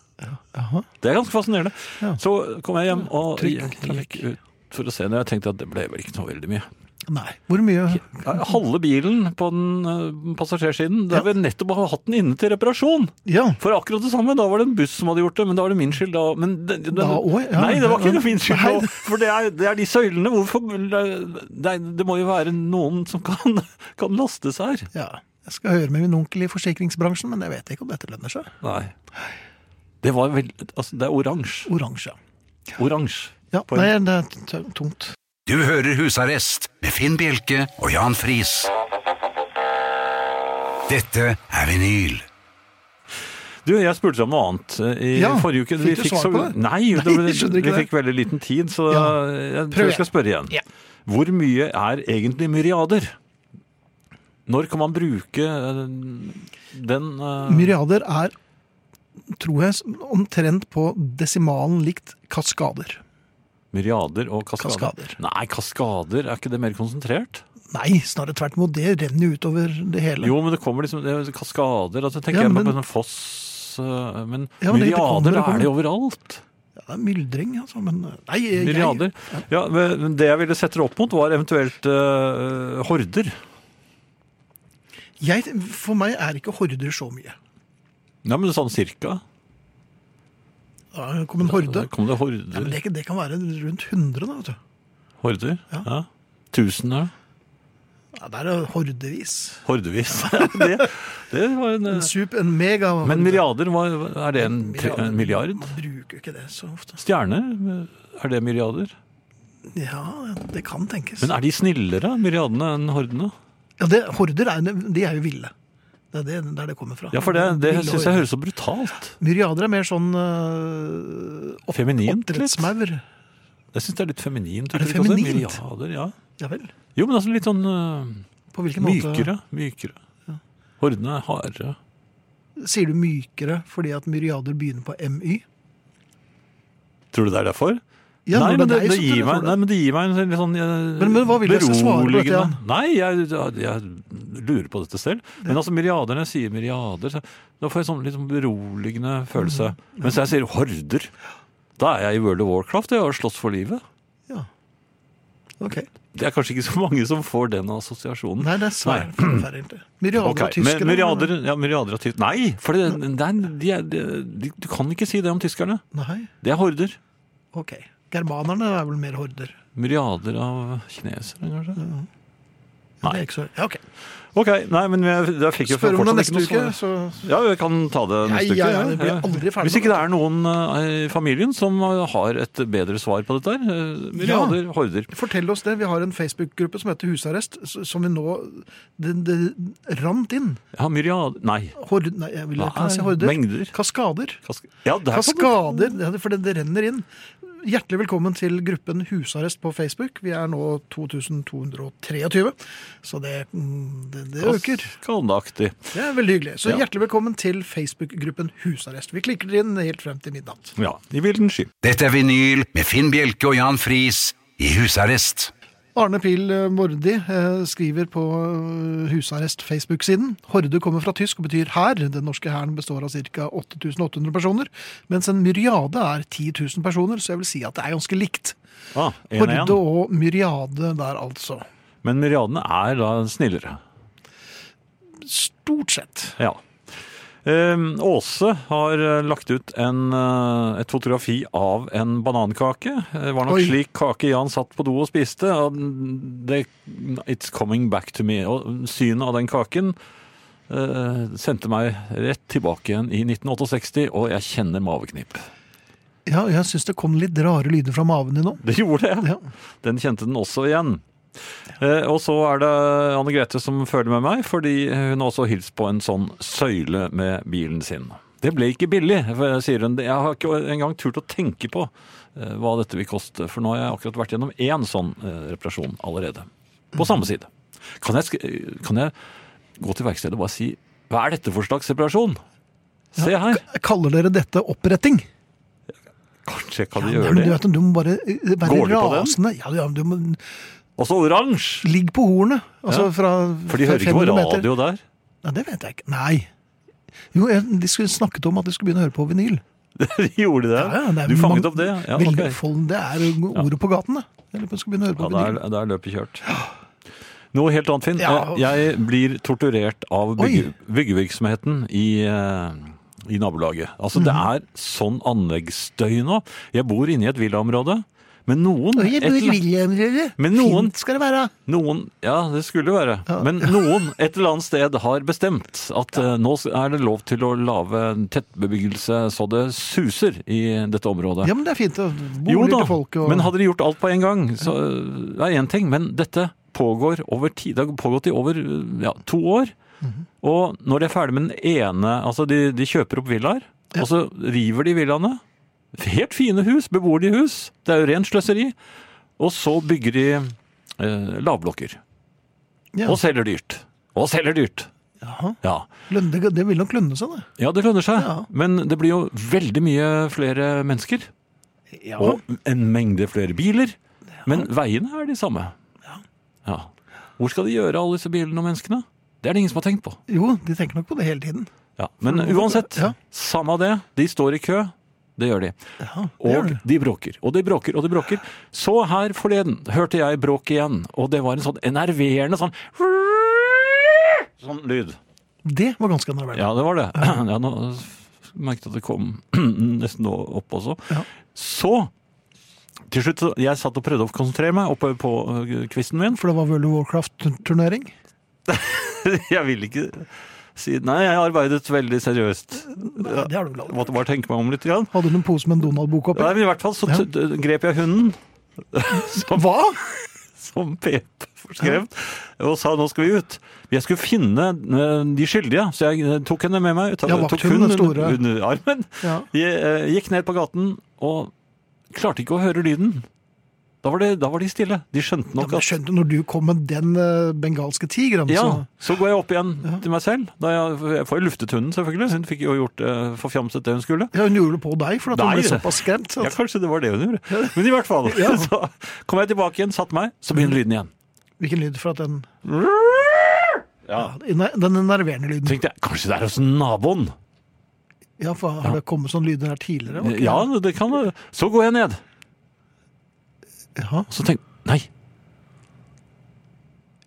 [SPEAKER 2] Jaha.
[SPEAKER 3] Det er ganske fascinerende.
[SPEAKER 2] Ja.
[SPEAKER 3] Så kom jeg hjem og
[SPEAKER 2] Trygg
[SPEAKER 3] gikk
[SPEAKER 2] trafikk.
[SPEAKER 3] ut for å se når jeg tenkte at det ble vel ikke noe veldig mye.
[SPEAKER 2] Nei. Hvor mye
[SPEAKER 3] Ja, Eh, Halve bilen på den eh, passasjersiden. Der vi nettopp har hatt den inne til reparasjon.
[SPEAKER 2] Ja.
[SPEAKER 3] For akkurat det samme, da var det en buss som hadde gjort det, men da var det min skyld da. Men det, det,
[SPEAKER 2] Da også, ja.
[SPEAKER 3] Nei, det var ikke det min skyld
[SPEAKER 2] Nei.
[SPEAKER 3] da. For det er, det er de søylene. Hvorfor det, er- det må jo være noen som kan, kan lastes her.
[SPEAKER 2] ja. Jeg skal høre med min onkel i forsikringsbransjen, men jeg vet ikke om dette lønner seg.
[SPEAKER 3] Nei. Det var vel Altså, det er oransje.
[SPEAKER 2] Oransje.
[SPEAKER 3] Oransje.
[SPEAKER 2] Ja,
[SPEAKER 3] Poeng.
[SPEAKER 2] nei, det er t- tungt.
[SPEAKER 1] Du hører Husarrest med Finn Bjelke og Jan Friis. Dette er vinyl.
[SPEAKER 3] Du, jeg spurte deg om noe annet eh, i
[SPEAKER 2] Ja,
[SPEAKER 3] forrige uke.
[SPEAKER 2] fikk
[SPEAKER 3] Vi
[SPEAKER 2] du
[SPEAKER 3] fikk
[SPEAKER 2] svar
[SPEAKER 3] så-
[SPEAKER 2] på det?
[SPEAKER 3] Nei,
[SPEAKER 2] Nei,
[SPEAKER 3] det,
[SPEAKER 2] jeg skjønner ikke
[SPEAKER 3] vi
[SPEAKER 2] det.
[SPEAKER 3] fikk veldig liten tid, så
[SPEAKER 2] Ja.
[SPEAKER 3] jeg
[SPEAKER 2] Prøv
[SPEAKER 3] tror jeg skal spørre igjen.
[SPEAKER 2] Ja.
[SPEAKER 3] Hvor mye er egentlig myriader? Når kan man bruke eh, den eh,
[SPEAKER 2] Myriader er, tror jeg, omtrent på desimalen likt kaskader.
[SPEAKER 3] Myriader og kaskader?
[SPEAKER 2] Kaskader.
[SPEAKER 3] Nei, kaskader, er ikke det mer konsentrert?
[SPEAKER 2] Nei, snarere tvert imot. Det renner utover det hele.
[SPEAKER 3] Jo, men det kommer liksom det er kaskader. Altså, tenker
[SPEAKER 2] Ja,
[SPEAKER 3] jeg
[SPEAKER 2] men
[SPEAKER 3] på
[SPEAKER 2] den-
[SPEAKER 3] en foss eh, Men
[SPEAKER 2] Ja, men det- det kommer,
[SPEAKER 3] myriader
[SPEAKER 2] det kommer.
[SPEAKER 3] er det overalt.
[SPEAKER 2] Ja, det er myldring, altså, men Nei, jeg,
[SPEAKER 3] Myriader. Ja, men Det jeg ville sette det opp mot, var eventuelt eh, horder.
[SPEAKER 2] jeg For meg er ikke horder så mye.
[SPEAKER 3] Ja, men sånn cirka.
[SPEAKER 2] Da kom en horde.
[SPEAKER 3] Da Kom det
[SPEAKER 2] Ja, men
[SPEAKER 3] horder?
[SPEAKER 2] det, det kan være rundt 100, da, vet du.
[SPEAKER 3] Horder?
[SPEAKER 2] Ja.
[SPEAKER 3] Ja. Tusener?
[SPEAKER 2] Ja, det er hordevis.
[SPEAKER 3] Hordevis. det, det var en
[SPEAKER 2] En
[SPEAKER 3] eh,
[SPEAKER 2] sup, en mega
[SPEAKER 3] Men milliarder, hva- er det en, tre,
[SPEAKER 2] Milliard.
[SPEAKER 3] en milliard?
[SPEAKER 2] Man bruker jo ikke det så ofte.
[SPEAKER 3] Stjerner, er det milliarder?
[SPEAKER 2] Ja, det kan tenkes.
[SPEAKER 3] Men er de snillere, myriadene, enn hordene?
[SPEAKER 2] Ja, det, horder er, de er jo ville. Det er det, der det kommer fra.
[SPEAKER 3] Ja, for det, det
[SPEAKER 2] Ville
[SPEAKER 3] syns
[SPEAKER 2] horder.
[SPEAKER 3] jeg høres så brutalt.
[SPEAKER 2] Myriader er mer sånn øh, opp-
[SPEAKER 3] Feminint litt.
[SPEAKER 2] oppdrettsmaur.
[SPEAKER 3] Jeg syns det er litt feminint.
[SPEAKER 2] Er det
[SPEAKER 3] uttrykk også.
[SPEAKER 2] feminint?
[SPEAKER 3] Myriader, ja.
[SPEAKER 2] Ja vel.
[SPEAKER 3] Jo, men altså litt sånn øh,
[SPEAKER 2] På hvilken
[SPEAKER 3] mykere. Mykere. Hordene er harde.
[SPEAKER 2] måte sier du mykere fordi at myriader begynner på my?
[SPEAKER 3] Tror du det er derfor?
[SPEAKER 2] Ja,
[SPEAKER 3] nei,
[SPEAKER 2] når det
[SPEAKER 3] men det,
[SPEAKER 2] er deg
[SPEAKER 3] det
[SPEAKER 2] som
[SPEAKER 3] gir
[SPEAKER 2] tror
[SPEAKER 3] meg,
[SPEAKER 2] det.
[SPEAKER 3] nei, men det gir meg en litt sånn eh,
[SPEAKER 2] Men- men hva vil jeg skal svare på dette,
[SPEAKER 3] beroligende-
[SPEAKER 2] Jan?
[SPEAKER 3] Nei, jeg, jeg, jeg lurer på dette selv. Men altså, milliarder, når jeg sier milliarder, så, da får jeg sånn litt sånn beroligende følelse.
[SPEAKER 2] Mm.
[SPEAKER 3] Mens jeg sier horder, da er jeg i World of Warcraft jeg, og slåss for livet.
[SPEAKER 2] Ja. Ok.
[SPEAKER 3] Det er kanskje ikke så mange som får den assosiasjonen.
[SPEAKER 2] Nei, det er svært forferdelig. Myriader
[SPEAKER 3] Ok,
[SPEAKER 2] av tyskere.
[SPEAKER 3] men myriader, ja, myriader av tyskere Nei! For det, det er, de er, de, du kan ikke si det om tyskerne.
[SPEAKER 2] Nei,
[SPEAKER 3] Det er horder.
[SPEAKER 2] ok. Germanerne er vel mer horder.
[SPEAKER 3] Myriader av kinesere, kanskje.
[SPEAKER 2] Ja,
[SPEAKER 3] Nei.
[SPEAKER 2] det er ikke så... Ja, ok.
[SPEAKER 3] Ok, nei, men jeg, jeg fikk jo
[SPEAKER 2] Spør om det
[SPEAKER 3] fortsatt ikke
[SPEAKER 2] neste
[SPEAKER 3] noe
[SPEAKER 2] uke,
[SPEAKER 3] svar.
[SPEAKER 2] så
[SPEAKER 3] Ja, vi kan ta det
[SPEAKER 2] Nei,
[SPEAKER 3] neste uke.
[SPEAKER 2] ja, ja, det blir jeg aldri ferdig
[SPEAKER 3] Hvis ikke det er noen eh, i familien som har et bedre svar på dette her. eh, Myriader, horder.
[SPEAKER 2] fortell oss det. Vi har en Facebook-gruppe som heter Husarrest, s- som vi nå Det, det rant inn.
[SPEAKER 3] Ja, myriader Nei.
[SPEAKER 2] Hord... Nei, jeg ville
[SPEAKER 3] Nei,
[SPEAKER 2] ikke si horder.
[SPEAKER 3] mengder.
[SPEAKER 2] Kaskader.
[SPEAKER 3] Kask ja, det er
[SPEAKER 2] Kaskader, ja, for det, det renner inn. Hjertelig velkommen til gruppen Husarrest på Facebook. Vi er nå 2223, så det, mm, det, det øker.
[SPEAKER 3] Skadeaktig.
[SPEAKER 2] Det er veldig hyggelig. Så
[SPEAKER 3] Ja.
[SPEAKER 2] hjertelig velkommen til Facebook-gruppen Husarrest. Vi klikker dere inn helt frem til midnatt.
[SPEAKER 3] Ja, i vilden sky.
[SPEAKER 1] Dette er vinyl med Finn Bjelke og Jan Friis i husarrest.
[SPEAKER 2] Arne Pil eh, Mordi eh, skriver på eh, husarrest-Facebook-siden. Horde kommer fra tysk og betyr hær. Den norske hæren består av ca. 8800 personer, mens en myriade er 10 000 personer, så jeg vil si at det er ganske likt.
[SPEAKER 3] Ah, en og
[SPEAKER 2] Horde
[SPEAKER 3] en.
[SPEAKER 2] og myriade der, altså.
[SPEAKER 3] Men myriadene er da snillere.
[SPEAKER 2] Stort sett.
[SPEAKER 3] Ja. Ehm, Åse har eh, lagt ut en, eh, et fotografi av en banankake. Det var nok
[SPEAKER 2] Oi.
[SPEAKER 3] slik kake Jan satt på do og spiste. og den- Det, it's coming back to me. Og synet av den kaken eh, sendte meg rett tilbake igjen i 1968, og jeg kjenner maveknip.
[SPEAKER 2] Ja, jeg syns det kom litt rare lyder fra maven din nå.
[SPEAKER 3] Det gjorde det.
[SPEAKER 2] Ja.
[SPEAKER 3] Den kjente den også igjen. Eh, og så er det Anne Grete som føler med meg, fordi hun har også hilst på en sånn søyle med bilen sin. Det ble ikke billig, for- sier hun. Jeg har ikke engang turt å tenke på eh, hva dette vil koste, for nå har jeg akkurat vært gjennom én sånn eh, reparasjon allerede. På samme side. Kan jeg, sk- eh, kan jeg gå til verkstedet og bare si hva er dette for slags reparasjon? Se her!
[SPEAKER 2] Kaller dere dette oppretting?
[SPEAKER 3] Kanskje kan de
[SPEAKER 2] Ja,
[SPEAKER 3] gjøre
[SPEAKER 2] men du
[SPEAKER 3] det.
[SPEAKER 2] vet, du må bare eh, være
[SPEAKER 3] Går de på den?
[SPEAKER 2] rasende. Ja, ja, du må
[SPEAKER 3] Også oransje!
[SPEAKER 2] ligge på hornet. Altså
[SPEAKER 3] Ja.
[SPEAKER 2] fra
[SPEAKER 3] For de hører ikke på
[SPEAKER 2] 500 meter.
[SPEAKER 3] radio der.
[SPEAKER 2] Nei, det vet jeg ikke. Nei. Jo, jeg, de skulle snakket om at de skulle begynne å høre på vinyl.
[SPEAKER 3] De gjorde det?
[SPEAKER 2] det er
[SPEAKER 3] du fanget
[SPEAKER 2] mange-
[SPEAKER 3] opp det? ja? Ja,
[SPEAKER 2] veldig
[SPEAKER 3] ok.
[SPEAKER 2] folk- det er jo ordet på gaten, det. Jeg lurer på om de skulle begynne å høre
[SPEAKER 3] ja
[SPEAKER 2] på
[SPEAKER 3] da,
[SPEAKER 2] vinyl.
[SPEAKER 3] er, da er løpet kjørt. Noe helt annet, Finn. Eh,
[SPEAKER 2] Ja.
[SPEAKER 3] Jeg blir torturert av bygge,
[SPEAKER 2] Oi.
[SPEAKER 3] byggevirksomheten i, eh, i nabolaget. Altså, Det
[SPEAKER 2] Mhm.
[SPEAKER 3] er sånn anleggsstøy nå. Jeg bor inne i et villaområde, men noen et eller- Men noen- Fint
[SPEAKER 2] skal det være.
[SPEAKER 3] noen, ja, det skulle være. Men noen et eller annet sted har bestemt at eh, nå er det lov til å lage tettbebyggelse så det suser i dette området.
[SPEAKER 2] Ja, men det er fint. å bo
[SPEAKER 3] Jo
[SPEAKER 2] litt
[SPEAKER 3] da,
[SPEAKER 2] til folk og...
[SPEAKER 3] men hadde de gjort alt på en gang, så eh, det er én ting. Men dette pågår over tid. Det har pågått i over eh, ja, to år.
[SPEAKER 2] Mhm.
[SPEAKER 3] Og når de er ferdig med den ene Altså, de, de kjøper opp villaer, og så river de villaene. Helt fine hus, bebor de hus. Det er jo rent sløseri. Og så bygger de eh, lavblokker.
[SPEAKER 2] Ja.
[SPEAKER 3] Og selger dyrt. Og selger dyrt.
[SPEAKER 2] Jaha.
[SPEAKER 3] Ja.
[SPEAKER 2] Lønne, det- det vil nok lønne seg, det.
[SPEAKER 3] ja, det lønner seg.
[SPEAKER 2] Ja.
[SPEAKER 3] Men det blir jo veldig mye flere mennesker.
[SPEAKER 2] Ja.
[SPEAKER 3] Og en mengde flere biler. Men veiene er de samme. Ja. Hvor skal de gjøre alle disse bilene og menneskene? Det er det ingen som har tenkt på.
[SPEAKER 2] Jo, de tenker nok på det hele tiden.
[SPEAKER 3] Ja. Men uansett,
[SPEAKER 2] Ja.
[SPEAKER 3] samme av det. De står i kø. Det gjør de.
[SPEAKER 2] Ja, det gjør
[SPEAKER 3] Og
[SPEAKER 2] de.
[SPEAKER 3] de bråker, og de bråker, og de bråker. Så her forleden hørte jeg bråk igjen, og det var en sånn enerverende sånn Sånn lyd.
[SPEAKER 2] Det var ganske nervøst.
[SPEAKER 3] Ja, det var det. Ja, nå merket jeg at det kom nesten nå opp også.
[SPEAKER 2] Ja.
[SPEAKER 3] Så til slutt, så- jeg satt og prøvde å konsentrere meg oppe på øh, kvisten min.
[SPEAKER 2] For det var World of Warcraft-turnering.
[SPEAKER 3] Jeg ville ikke si Nei, jeg arbeidet veldig seriøst.
[SPEAKER 2] Nei, Det har du vel aldri.
[SPEAKER 3] Måtte bare tenke meg om litt. Grann.
[SPEAKER 2] Hadde du en pose med en Donald-bok oppi?
[SPEAKER 3] Nei, men I hvert fall så t- grep jeg hunden,
[SPEAKER 2] Hva?!
[SPEAKER 3] som Pep skrev, og sa nå skal vi ut. Jeg skulle finne øh, de skyldige, så jeg øh, tok henne med meg. Ta-
[SPEAKER 2] Ja,
[SPEAKER 3] tok
[SPEAKER 2] vakthunden, den
[SPEAKER 3] hunden
[SPEAKER 2] store.
[SPEAKER 3] under, under armen.
[SPEAKER 2] Ja.
[SPEAKER 3] Jeg eh, gikk ned på gaten og klarte ikke å høre lyden. Da var, det, da var de stille. De skjønte
[SPEAKER 2] Ja,
[SPEAKER 3] nok
[SPEAKER 2] men jeg
[SPEAKER 3] at
[SPEAKER 2] skjønte når du kom med den eh, bengalske tigeren,
[SPEAKER 3] ja,
[SPEAKER 2] så
[SPEAKER 3] Så går jeg opp igjen til meg selv. Da jeg, jeg får jo luftet hunden, selvfølgelig. Så hun fikk jo gjort eh, forfjamset det hun skulle.
[SPEAKER 2] ja, Hun gjorde det på deg, for at hun
[SPEAKER 3] Nei,
[SPEAKER 2] ble
[SPEAKER 3] det-
[SPEAKER 2] såpass skremt. så
[SPEAKER 3] Ja,
[SPEAKER 2] At,
[SPEAKER 3] Kanskje det var det hun gjorde. Men i hvert fall.
[SPEAKER 2] Ja.
[SPEAKER 3] Så kom jeg tilbake igjen, satte meg, så begynner lyden igjen.
[SPEAKER 2] hvilken lyd for at den
[SPEAKER 3] Ja.
[SPEAKER 2] ja, Den nerverende lyden.
[SPEAKER 3] tenkte jeg, Kanskje det er hos naboen?
[SPEAKER 2] Ja, for Har det kommet sånne lyder her tidligere? Ok.
[SPEAKER 3] Ja, det kan det. Så går jeg ned.
[SPEAKER 2] Jaha.
[SPEAKER 3] Så tenkte jeg Nei.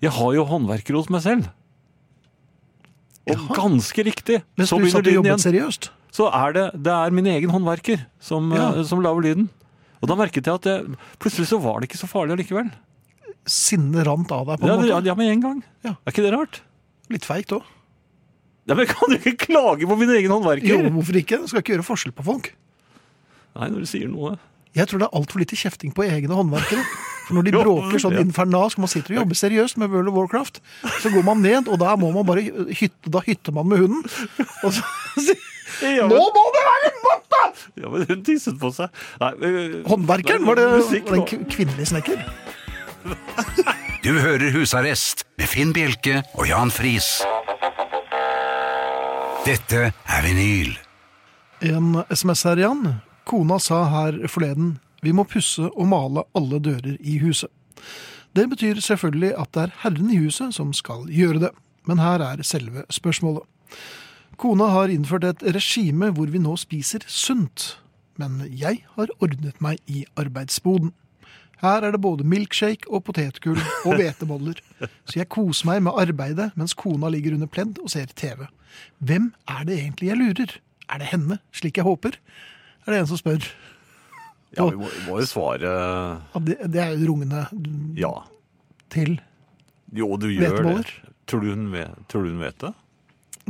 [SPEAKER 3] Jeg har jo håndverkere hos meg selv. Og ganske riktig.
[SPEAKER 2] Mens
[SPEAKER 3] så
[SPEAKER 2] du
[SPEAKER 3] begynner
[SPEAKER 2] satt og
[SPEAKER 3] lyden
[SPEAKER 2] jobbet
[SPEAKER 3] igjen.
[SPEAKER 2] seriøst?
[SPEAKER 3] Så er det, det er min egen håndverker som,
[SPEAKER 2] Ja.
[SPEAKER 3] eh, som lager lyden. Og da merket jeg at jeg, plutselig så var det ikke så farlig allikevel.
[SPEAKER 2] Sinnet rant av deg, på
[SPEAKER 3] Ja,
[SPEAKER 2] en
[SPEAKER 3] ja,
[SPEAKER 2] måte?
[SPEAKER 3] ja, med en gang.
[SPEAKER 2] Ja.
[SPEAKER 3] Er ikke det rart?
[SPEAKER 2] Litt feigt òg.
[SPEAKER 3] Ja, men jeg kan jo ikke klage på min egen
[SPEAKER 2] Jo,
[SPEAKER 3] håndverker!
[SPEAKER 2] hvorfor ikke? Du skal ikke gjøre forskjell på folk.
[SPEAKER 3] Nei, når du sier noe.
[SPEAKER 2] Jeg tror det er altfor lite kjefting på egne håndverkere. For når de
[SPEAKER 3] Jo,
[SPEAKER 2] bråker sånn
[SPEAKER 3] ja.
[SPEAKER 2] infernalsk, man sitter og jobber seriøst med World of Warcraft, så går man ned, og da må man bare hytte, da hytter man med hunden. Og så
[SPEAKER 3] Ja,
[SPEAKER 2] Nå
[SPEAKER 3] men,
[SPEAKER 2] må det være nok, da!
[SPEAKER 3] ja, men hun tisset på seg. Nei, men-
[SPEAKER 2] Håndverkeren,
[SPEAKER 3] Nei,
[SPEAKER 2] var det
[SPEAKER 3] musikk
[SPEAKER 2] var det en
[SPEAKER 3] nå.
[SPEAKER 2] kvin- kvinnelig snekker?
[SPEAKER 1] Du hører Husarrest med Finn Bjelke og Jan Friis. Dette er vinyl.
[SPEAKER 2] En SMS her, Jan. Kona sa her forleden Vi må pusse og male alle dører i huset. Det betyr selvfølgelig at det er herren i huset som skal gjøre det. Men her er selve spørsmålet. Kona har innført et regime hvor vi nå spiser sunt. Men jeg har ordnet meg i arbeidsboden. Her er det både milkshake og potetgull og hveteboller. Så jeg koser meg med arbeidet mens kona ligger under pledd og ser TV. Hvem er det egentlig jeg lurer? Er det henne, slik jeg håper? Er det en som spør?
[SPEAKER 3] Ja, vi må, vi må jo svare
[SPEAKER 2] Ja, Det, det er jo rungende
[SPEAKER 3] ja.
[SPEAKER 2] til
[SPEAKER 3] Jo, du gjør
[SPEAKER 2] Hveteboller?
[SPEAKER 3] det. Tror du, hun vet, tror du hun vet det?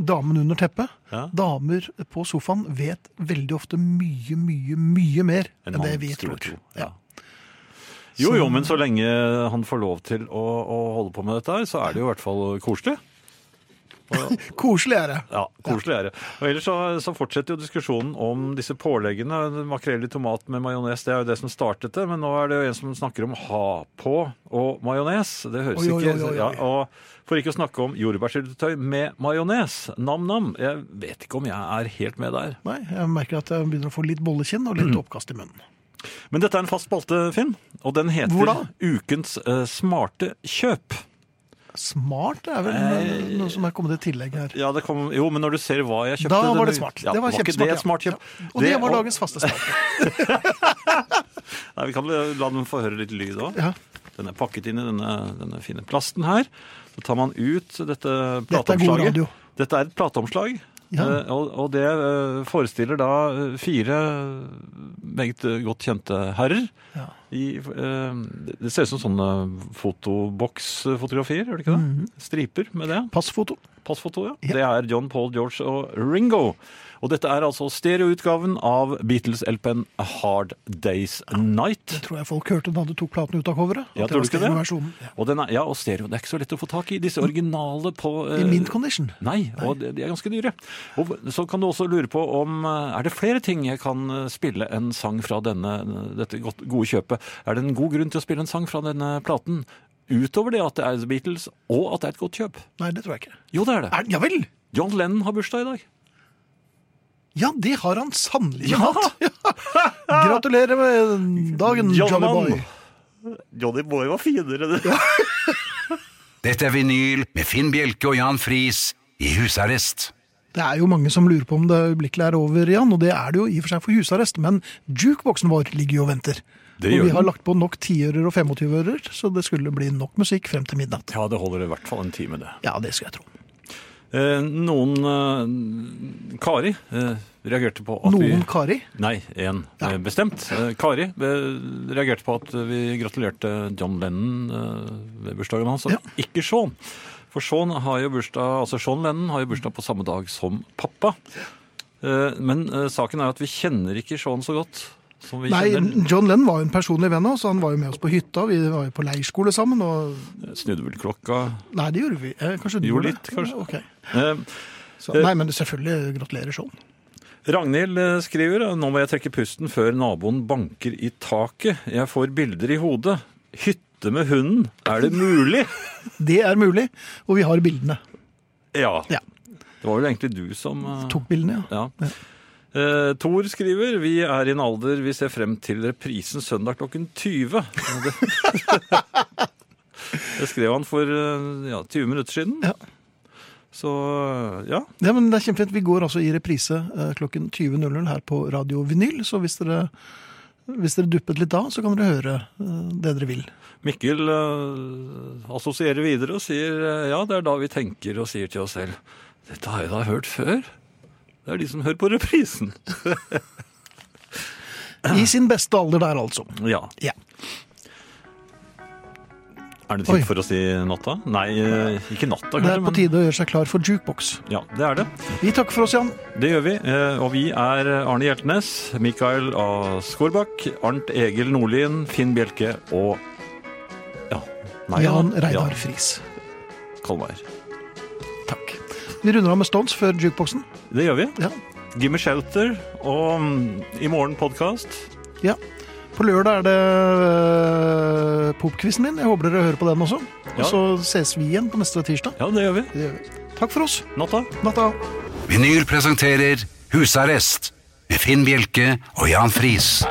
[SPEAKER 2] damen under teppet.
[SPEAKER 3] Ja.
[SPEAKER 2] Damer på sofaen vet veldig ofte mye, mye, mye mer
[SPEAKER 3] En
[SPEAKER 2] enn det
[SPEAKER 3] mann
[SPEAKER 2] vi
[SPEAKER 3] skulle
[SPEAKER 2] tror.
[SPEAKER 3] tro,
[SPEAKER 2] Ja.
[SPEAKER 3] Jo, jo, men så lenge han får lov til å, å holde på med dette her, så er det jo i hvert fall koselig.
[SPEAKER 2] Koselig er det.
[SPEAKER 3] Ja, koselig er det. Og ellers så, så fortsetter jo diskusjonen om disse påleggene. Makrell i tomat med majones, det er jo det som startet det. Men nå er det jo en som snakker om ha på og majones. Det høres
[SPEAKER 2] Oi, oi,
[SPEAKER 3] ikke
[SPEAKER 2] oi, oi.
[SPEAKER 3] Ja, Og for ikke å snakke om jordbærsyltetøy med majones. Nam-nam. Jeg vet ikke om jeg er helt med der.
[SPEAKER 2] Nei, jeg merker at jeg begynner å få litt bollekinn og litt oppkast i munnen.
[SPEAKER 3] Men dette er en fast spalte, Finn. Og den heter
[SPEAKER 2] Hvor da?
[SPEAKER 3] Ukens eh, smarte kjøp.
[SPEAKER 2] Smart er vel noe som er kommet i tillegg her.
[SPEAKER 3] Ja, det kom, jo, men når du ser hva jeg kjøpte
[SPEAKER 2] Da var
[SPEAKER 3] den-
[SPEAKER 2] det smart.
[SPEAKER 3] Ja,
[SPEAKER 2] det var,
[SPEAKER 3] ikke
[SPEAKER 2] kjempesmart.
[SPEAKER 3] Det et smart kjøp.
[SPEAKER 2] Ja. Og det, var dagens faste spalte.
[SPEAKER 3] Nei, vi kan la dem få høre litt lyd òg.
[SPEAKER 2] Ja.
[SPEAKER 3] Den er pakket inn i denne, denne fine plasten her. Så tar man ut dette
[SPEAKER 2] Dette er god
[SPEAKER 3] plateomslaget.
[SPEAKER 2] radio.
[SPEAKER 3] Dette er et plateomslag.
[SPEAKER 2] Ja.
[SPEAKER 3] eh, Og, og det eh, forestiller da eh, fire meget eh, godt kjente herrer.
[SPEAKER 2] Ja.
[SPEAKER 3] I, eh, det- det ser ut som sånne fotoboksfotografier, gjør det ikke det? Striper med det.
[SPEAKER 2] Passfoto.
[SPEAKER 3] Passfoto, ja.
[SPEAKER 2] Mhm. Ja.
[SPEAKER 3] Det er John, Paul, George og Ringo. Og dette er altså stereoutgaven av Beatles-LP-en A Hard Day's Night.
[SPEAKER 2] Tror jeg folk hørte da du tok platen ut av coveret.
[SPEAKER 3] Ja,
[SPEAKER 2] at
[SPEAKER 3] tror du
[SPEAKER 2] var
[SPEAKER 3] ikke det?
[SPEAKER 2] stereoversjonen. Ja. Mm.
[SPEAKER 3] Og den er, ja, og stereo. Det er ikke så lett å få tak i. Disse originale på eh,
[SPEAKER 2] I mint condition.
[SPEAKER 3] Nei, og de de er ganske dyre. Og så kan du også lure på om eh, er det flere ting jeg kan eh, spille en sang fra denne, dette godt- gode kjøpet. Er det en god grunn til å spille en sang fra denne platen? Utover det at det er The Beatles, og at det er et godt kjøp.
[SPEAKER 2] Nei, det tror jeg ikke.
[SPEAKER 3] Jo, det er det.
[SPEAKER 2] Er, ja vel!
[SPEAKER 3] John Lennon har bursdag i dag.
[SPEAKER 2] Ja, det har han sannelig hatt! Gratulerer med dagen, Johnny Boy.
[SPEAKER 3] Johnny Boy var finere, det.
[SPEAKER 1] Dette er vinyl med Finn Bjelke og Jan Friis i husarrest.
[SPEAKER 2] Det er jo mange som lurer på om det øyeblikkelig er over, Jan, og det er det jo i og for seg for husarrest, men jukeboksen vår ligger jo og venter.
[SPEAKER 3] Det
[SPEAKER 2] og
[SPEAKER 3] gjør
[SPEAKER 2] vi har
[SPEAKER 3] den.
[SPEAKER 2] lagt på nok tiører og 25-ører, så det skulle bli nok musikk frem til midnatt.
[SPEAKER 3] Ja, det holder i hvert fall en time, det.
[SPEAKER 2] Ja, det skal jeg tro.
[SPEAKER 3] Eh, noen eh, Kari eh, reagerte på at vi
[SPEAKER 2] Noen Kari?
[SPEAKER 3] Nei, én eh, bestemt. Eh, Kari eh, reagerte på at vi gratulerte John Lennon eh, ved bursdagen hans, og
[SPEAKER 2] Ja.
[SPEAKER 3] ikke Sean. For Sean, har jo bursdag, altså Sean Lennon har jo bursdag på samme dag som pappa. Eh, men eh, saken er jo at vi kjenner ikke Sean så godt som vi
[SPEAKER 2] Nei,
[SPEAKER 3] kjenner
[SPEAKER 2] John Lennon var jo en personlig venn av oss, han var jo med oss på hytta, vi var jo på leirskole sammen, og
[SPEAKER 3] Snudde vel klokka
[SPEAKER 2] Nei, det gjorde vi. Eh, Kanskje du
[SPEAKER 3] Jo,
[SPEAKER 2] gjorde
[SPEAKER 3] litt,
[SPEAKER 2] det?
[SPEAKER 3] kanskje.
[SPEAKER 2] Ok.
[SPEAKER 3] eh,
[SPEAKER 2] Så, nei, men selvfølgelig gratulerer sånn.
[SPEAKER 3] Ragnhild eh, skriver Nå må jeg trekke pusten før naboen banker i taket. Jeg får bilder i hodet. Hytte med hunden. Er det mulig?
[SPEAKER 2] Det er mulig, og vi har bildene.
[SPEAKER 3] Ja.
[SPEAKER 2] Ja.
[SPEAKER 3] Det var vel egentlig du som eh,
[SPEAKER 2] Tok bildene, ja.
[SPEAKER 3] Ja. Eh, Thor skriver Vi er i en alder vi ser frem til reprisen søndag klokken 20. Og Det, det skrev han for eh, ja, 20 minutter siden.
[SPEAKER 2] Ja.
[SPEAKER 3] Så eh, ja.
[SPEAKER 2] Ja, men det er kjempefint. Vi går altså i reprise eh, klokken 20.00 her på Radio Vinyl, så hvis dere, hvis dere duppet litt da, så kan dere høre eh, det dere vil.
[SPEAKER 3] Mikkel eh, assosierer videre og sier eh, ja, det er da vi tenker og sier til oss selv Dette har jeg da hørt før. Det er de som hører på reprisen.
[SPEAKER 2] I sin beste alder der, altså.
[SPEAKER 3] Ja.
[SPEAKER 2] Ja.
[SPEAKER 3] Er det
[SPEAKER 2] Oi.
[SPEAKER 3] tid for å si natta? Nei, eh, ikke natta,
[SPEAKER 2] Det
[SPEAKER 3] kanskje.
[SPEAKER 2] er på tide å gjøre seg klar for jukebox.
[SPEAKER 3] Men, ja, det er det.
[SPEAKER 2] Vi takker for oss, Jan.
[SPEAKER 3] Det gjør vi, eh, og vi er Arne Hjeltnes, Mikael A. Skårbakk, Arnt Egil Nordlien, Finn Bjelke og ja, nei,
[SPEAKER 2] Jan Reidar
[SPEAKER 3] Ja,
[SPEAKER 2] Friis.
[SPEAKER 3] Kolmeier.
[SPEAKER 2] Takk. Vi runder av med Stones før jukeboxen.
[SPEAKER 3] Det gjør vi.
[SPEAKER 2] Ja.
[SPEAKER 3] Gimme Shelter og mm, I morgen podkast.
[SPEAKER 2] ja. På lørdag er det uh, popquizen min. Jeg håper dere hører på den også.
[SPEAKER 3] Ja.
[SPEAKER 2] Og så ses vi igjen på neste tirsdag.
[SPEAKER 3] Ja, det gjør vi.
[SPEAKER 2] Det gjør vi. Takk for oss.
[SPEAKER 3] Natta.
[SPEAKER 2] Natta.
[SPEAKER 1] Vinyl presenterer Husarrest med Finn Bjelke og Jan Friis.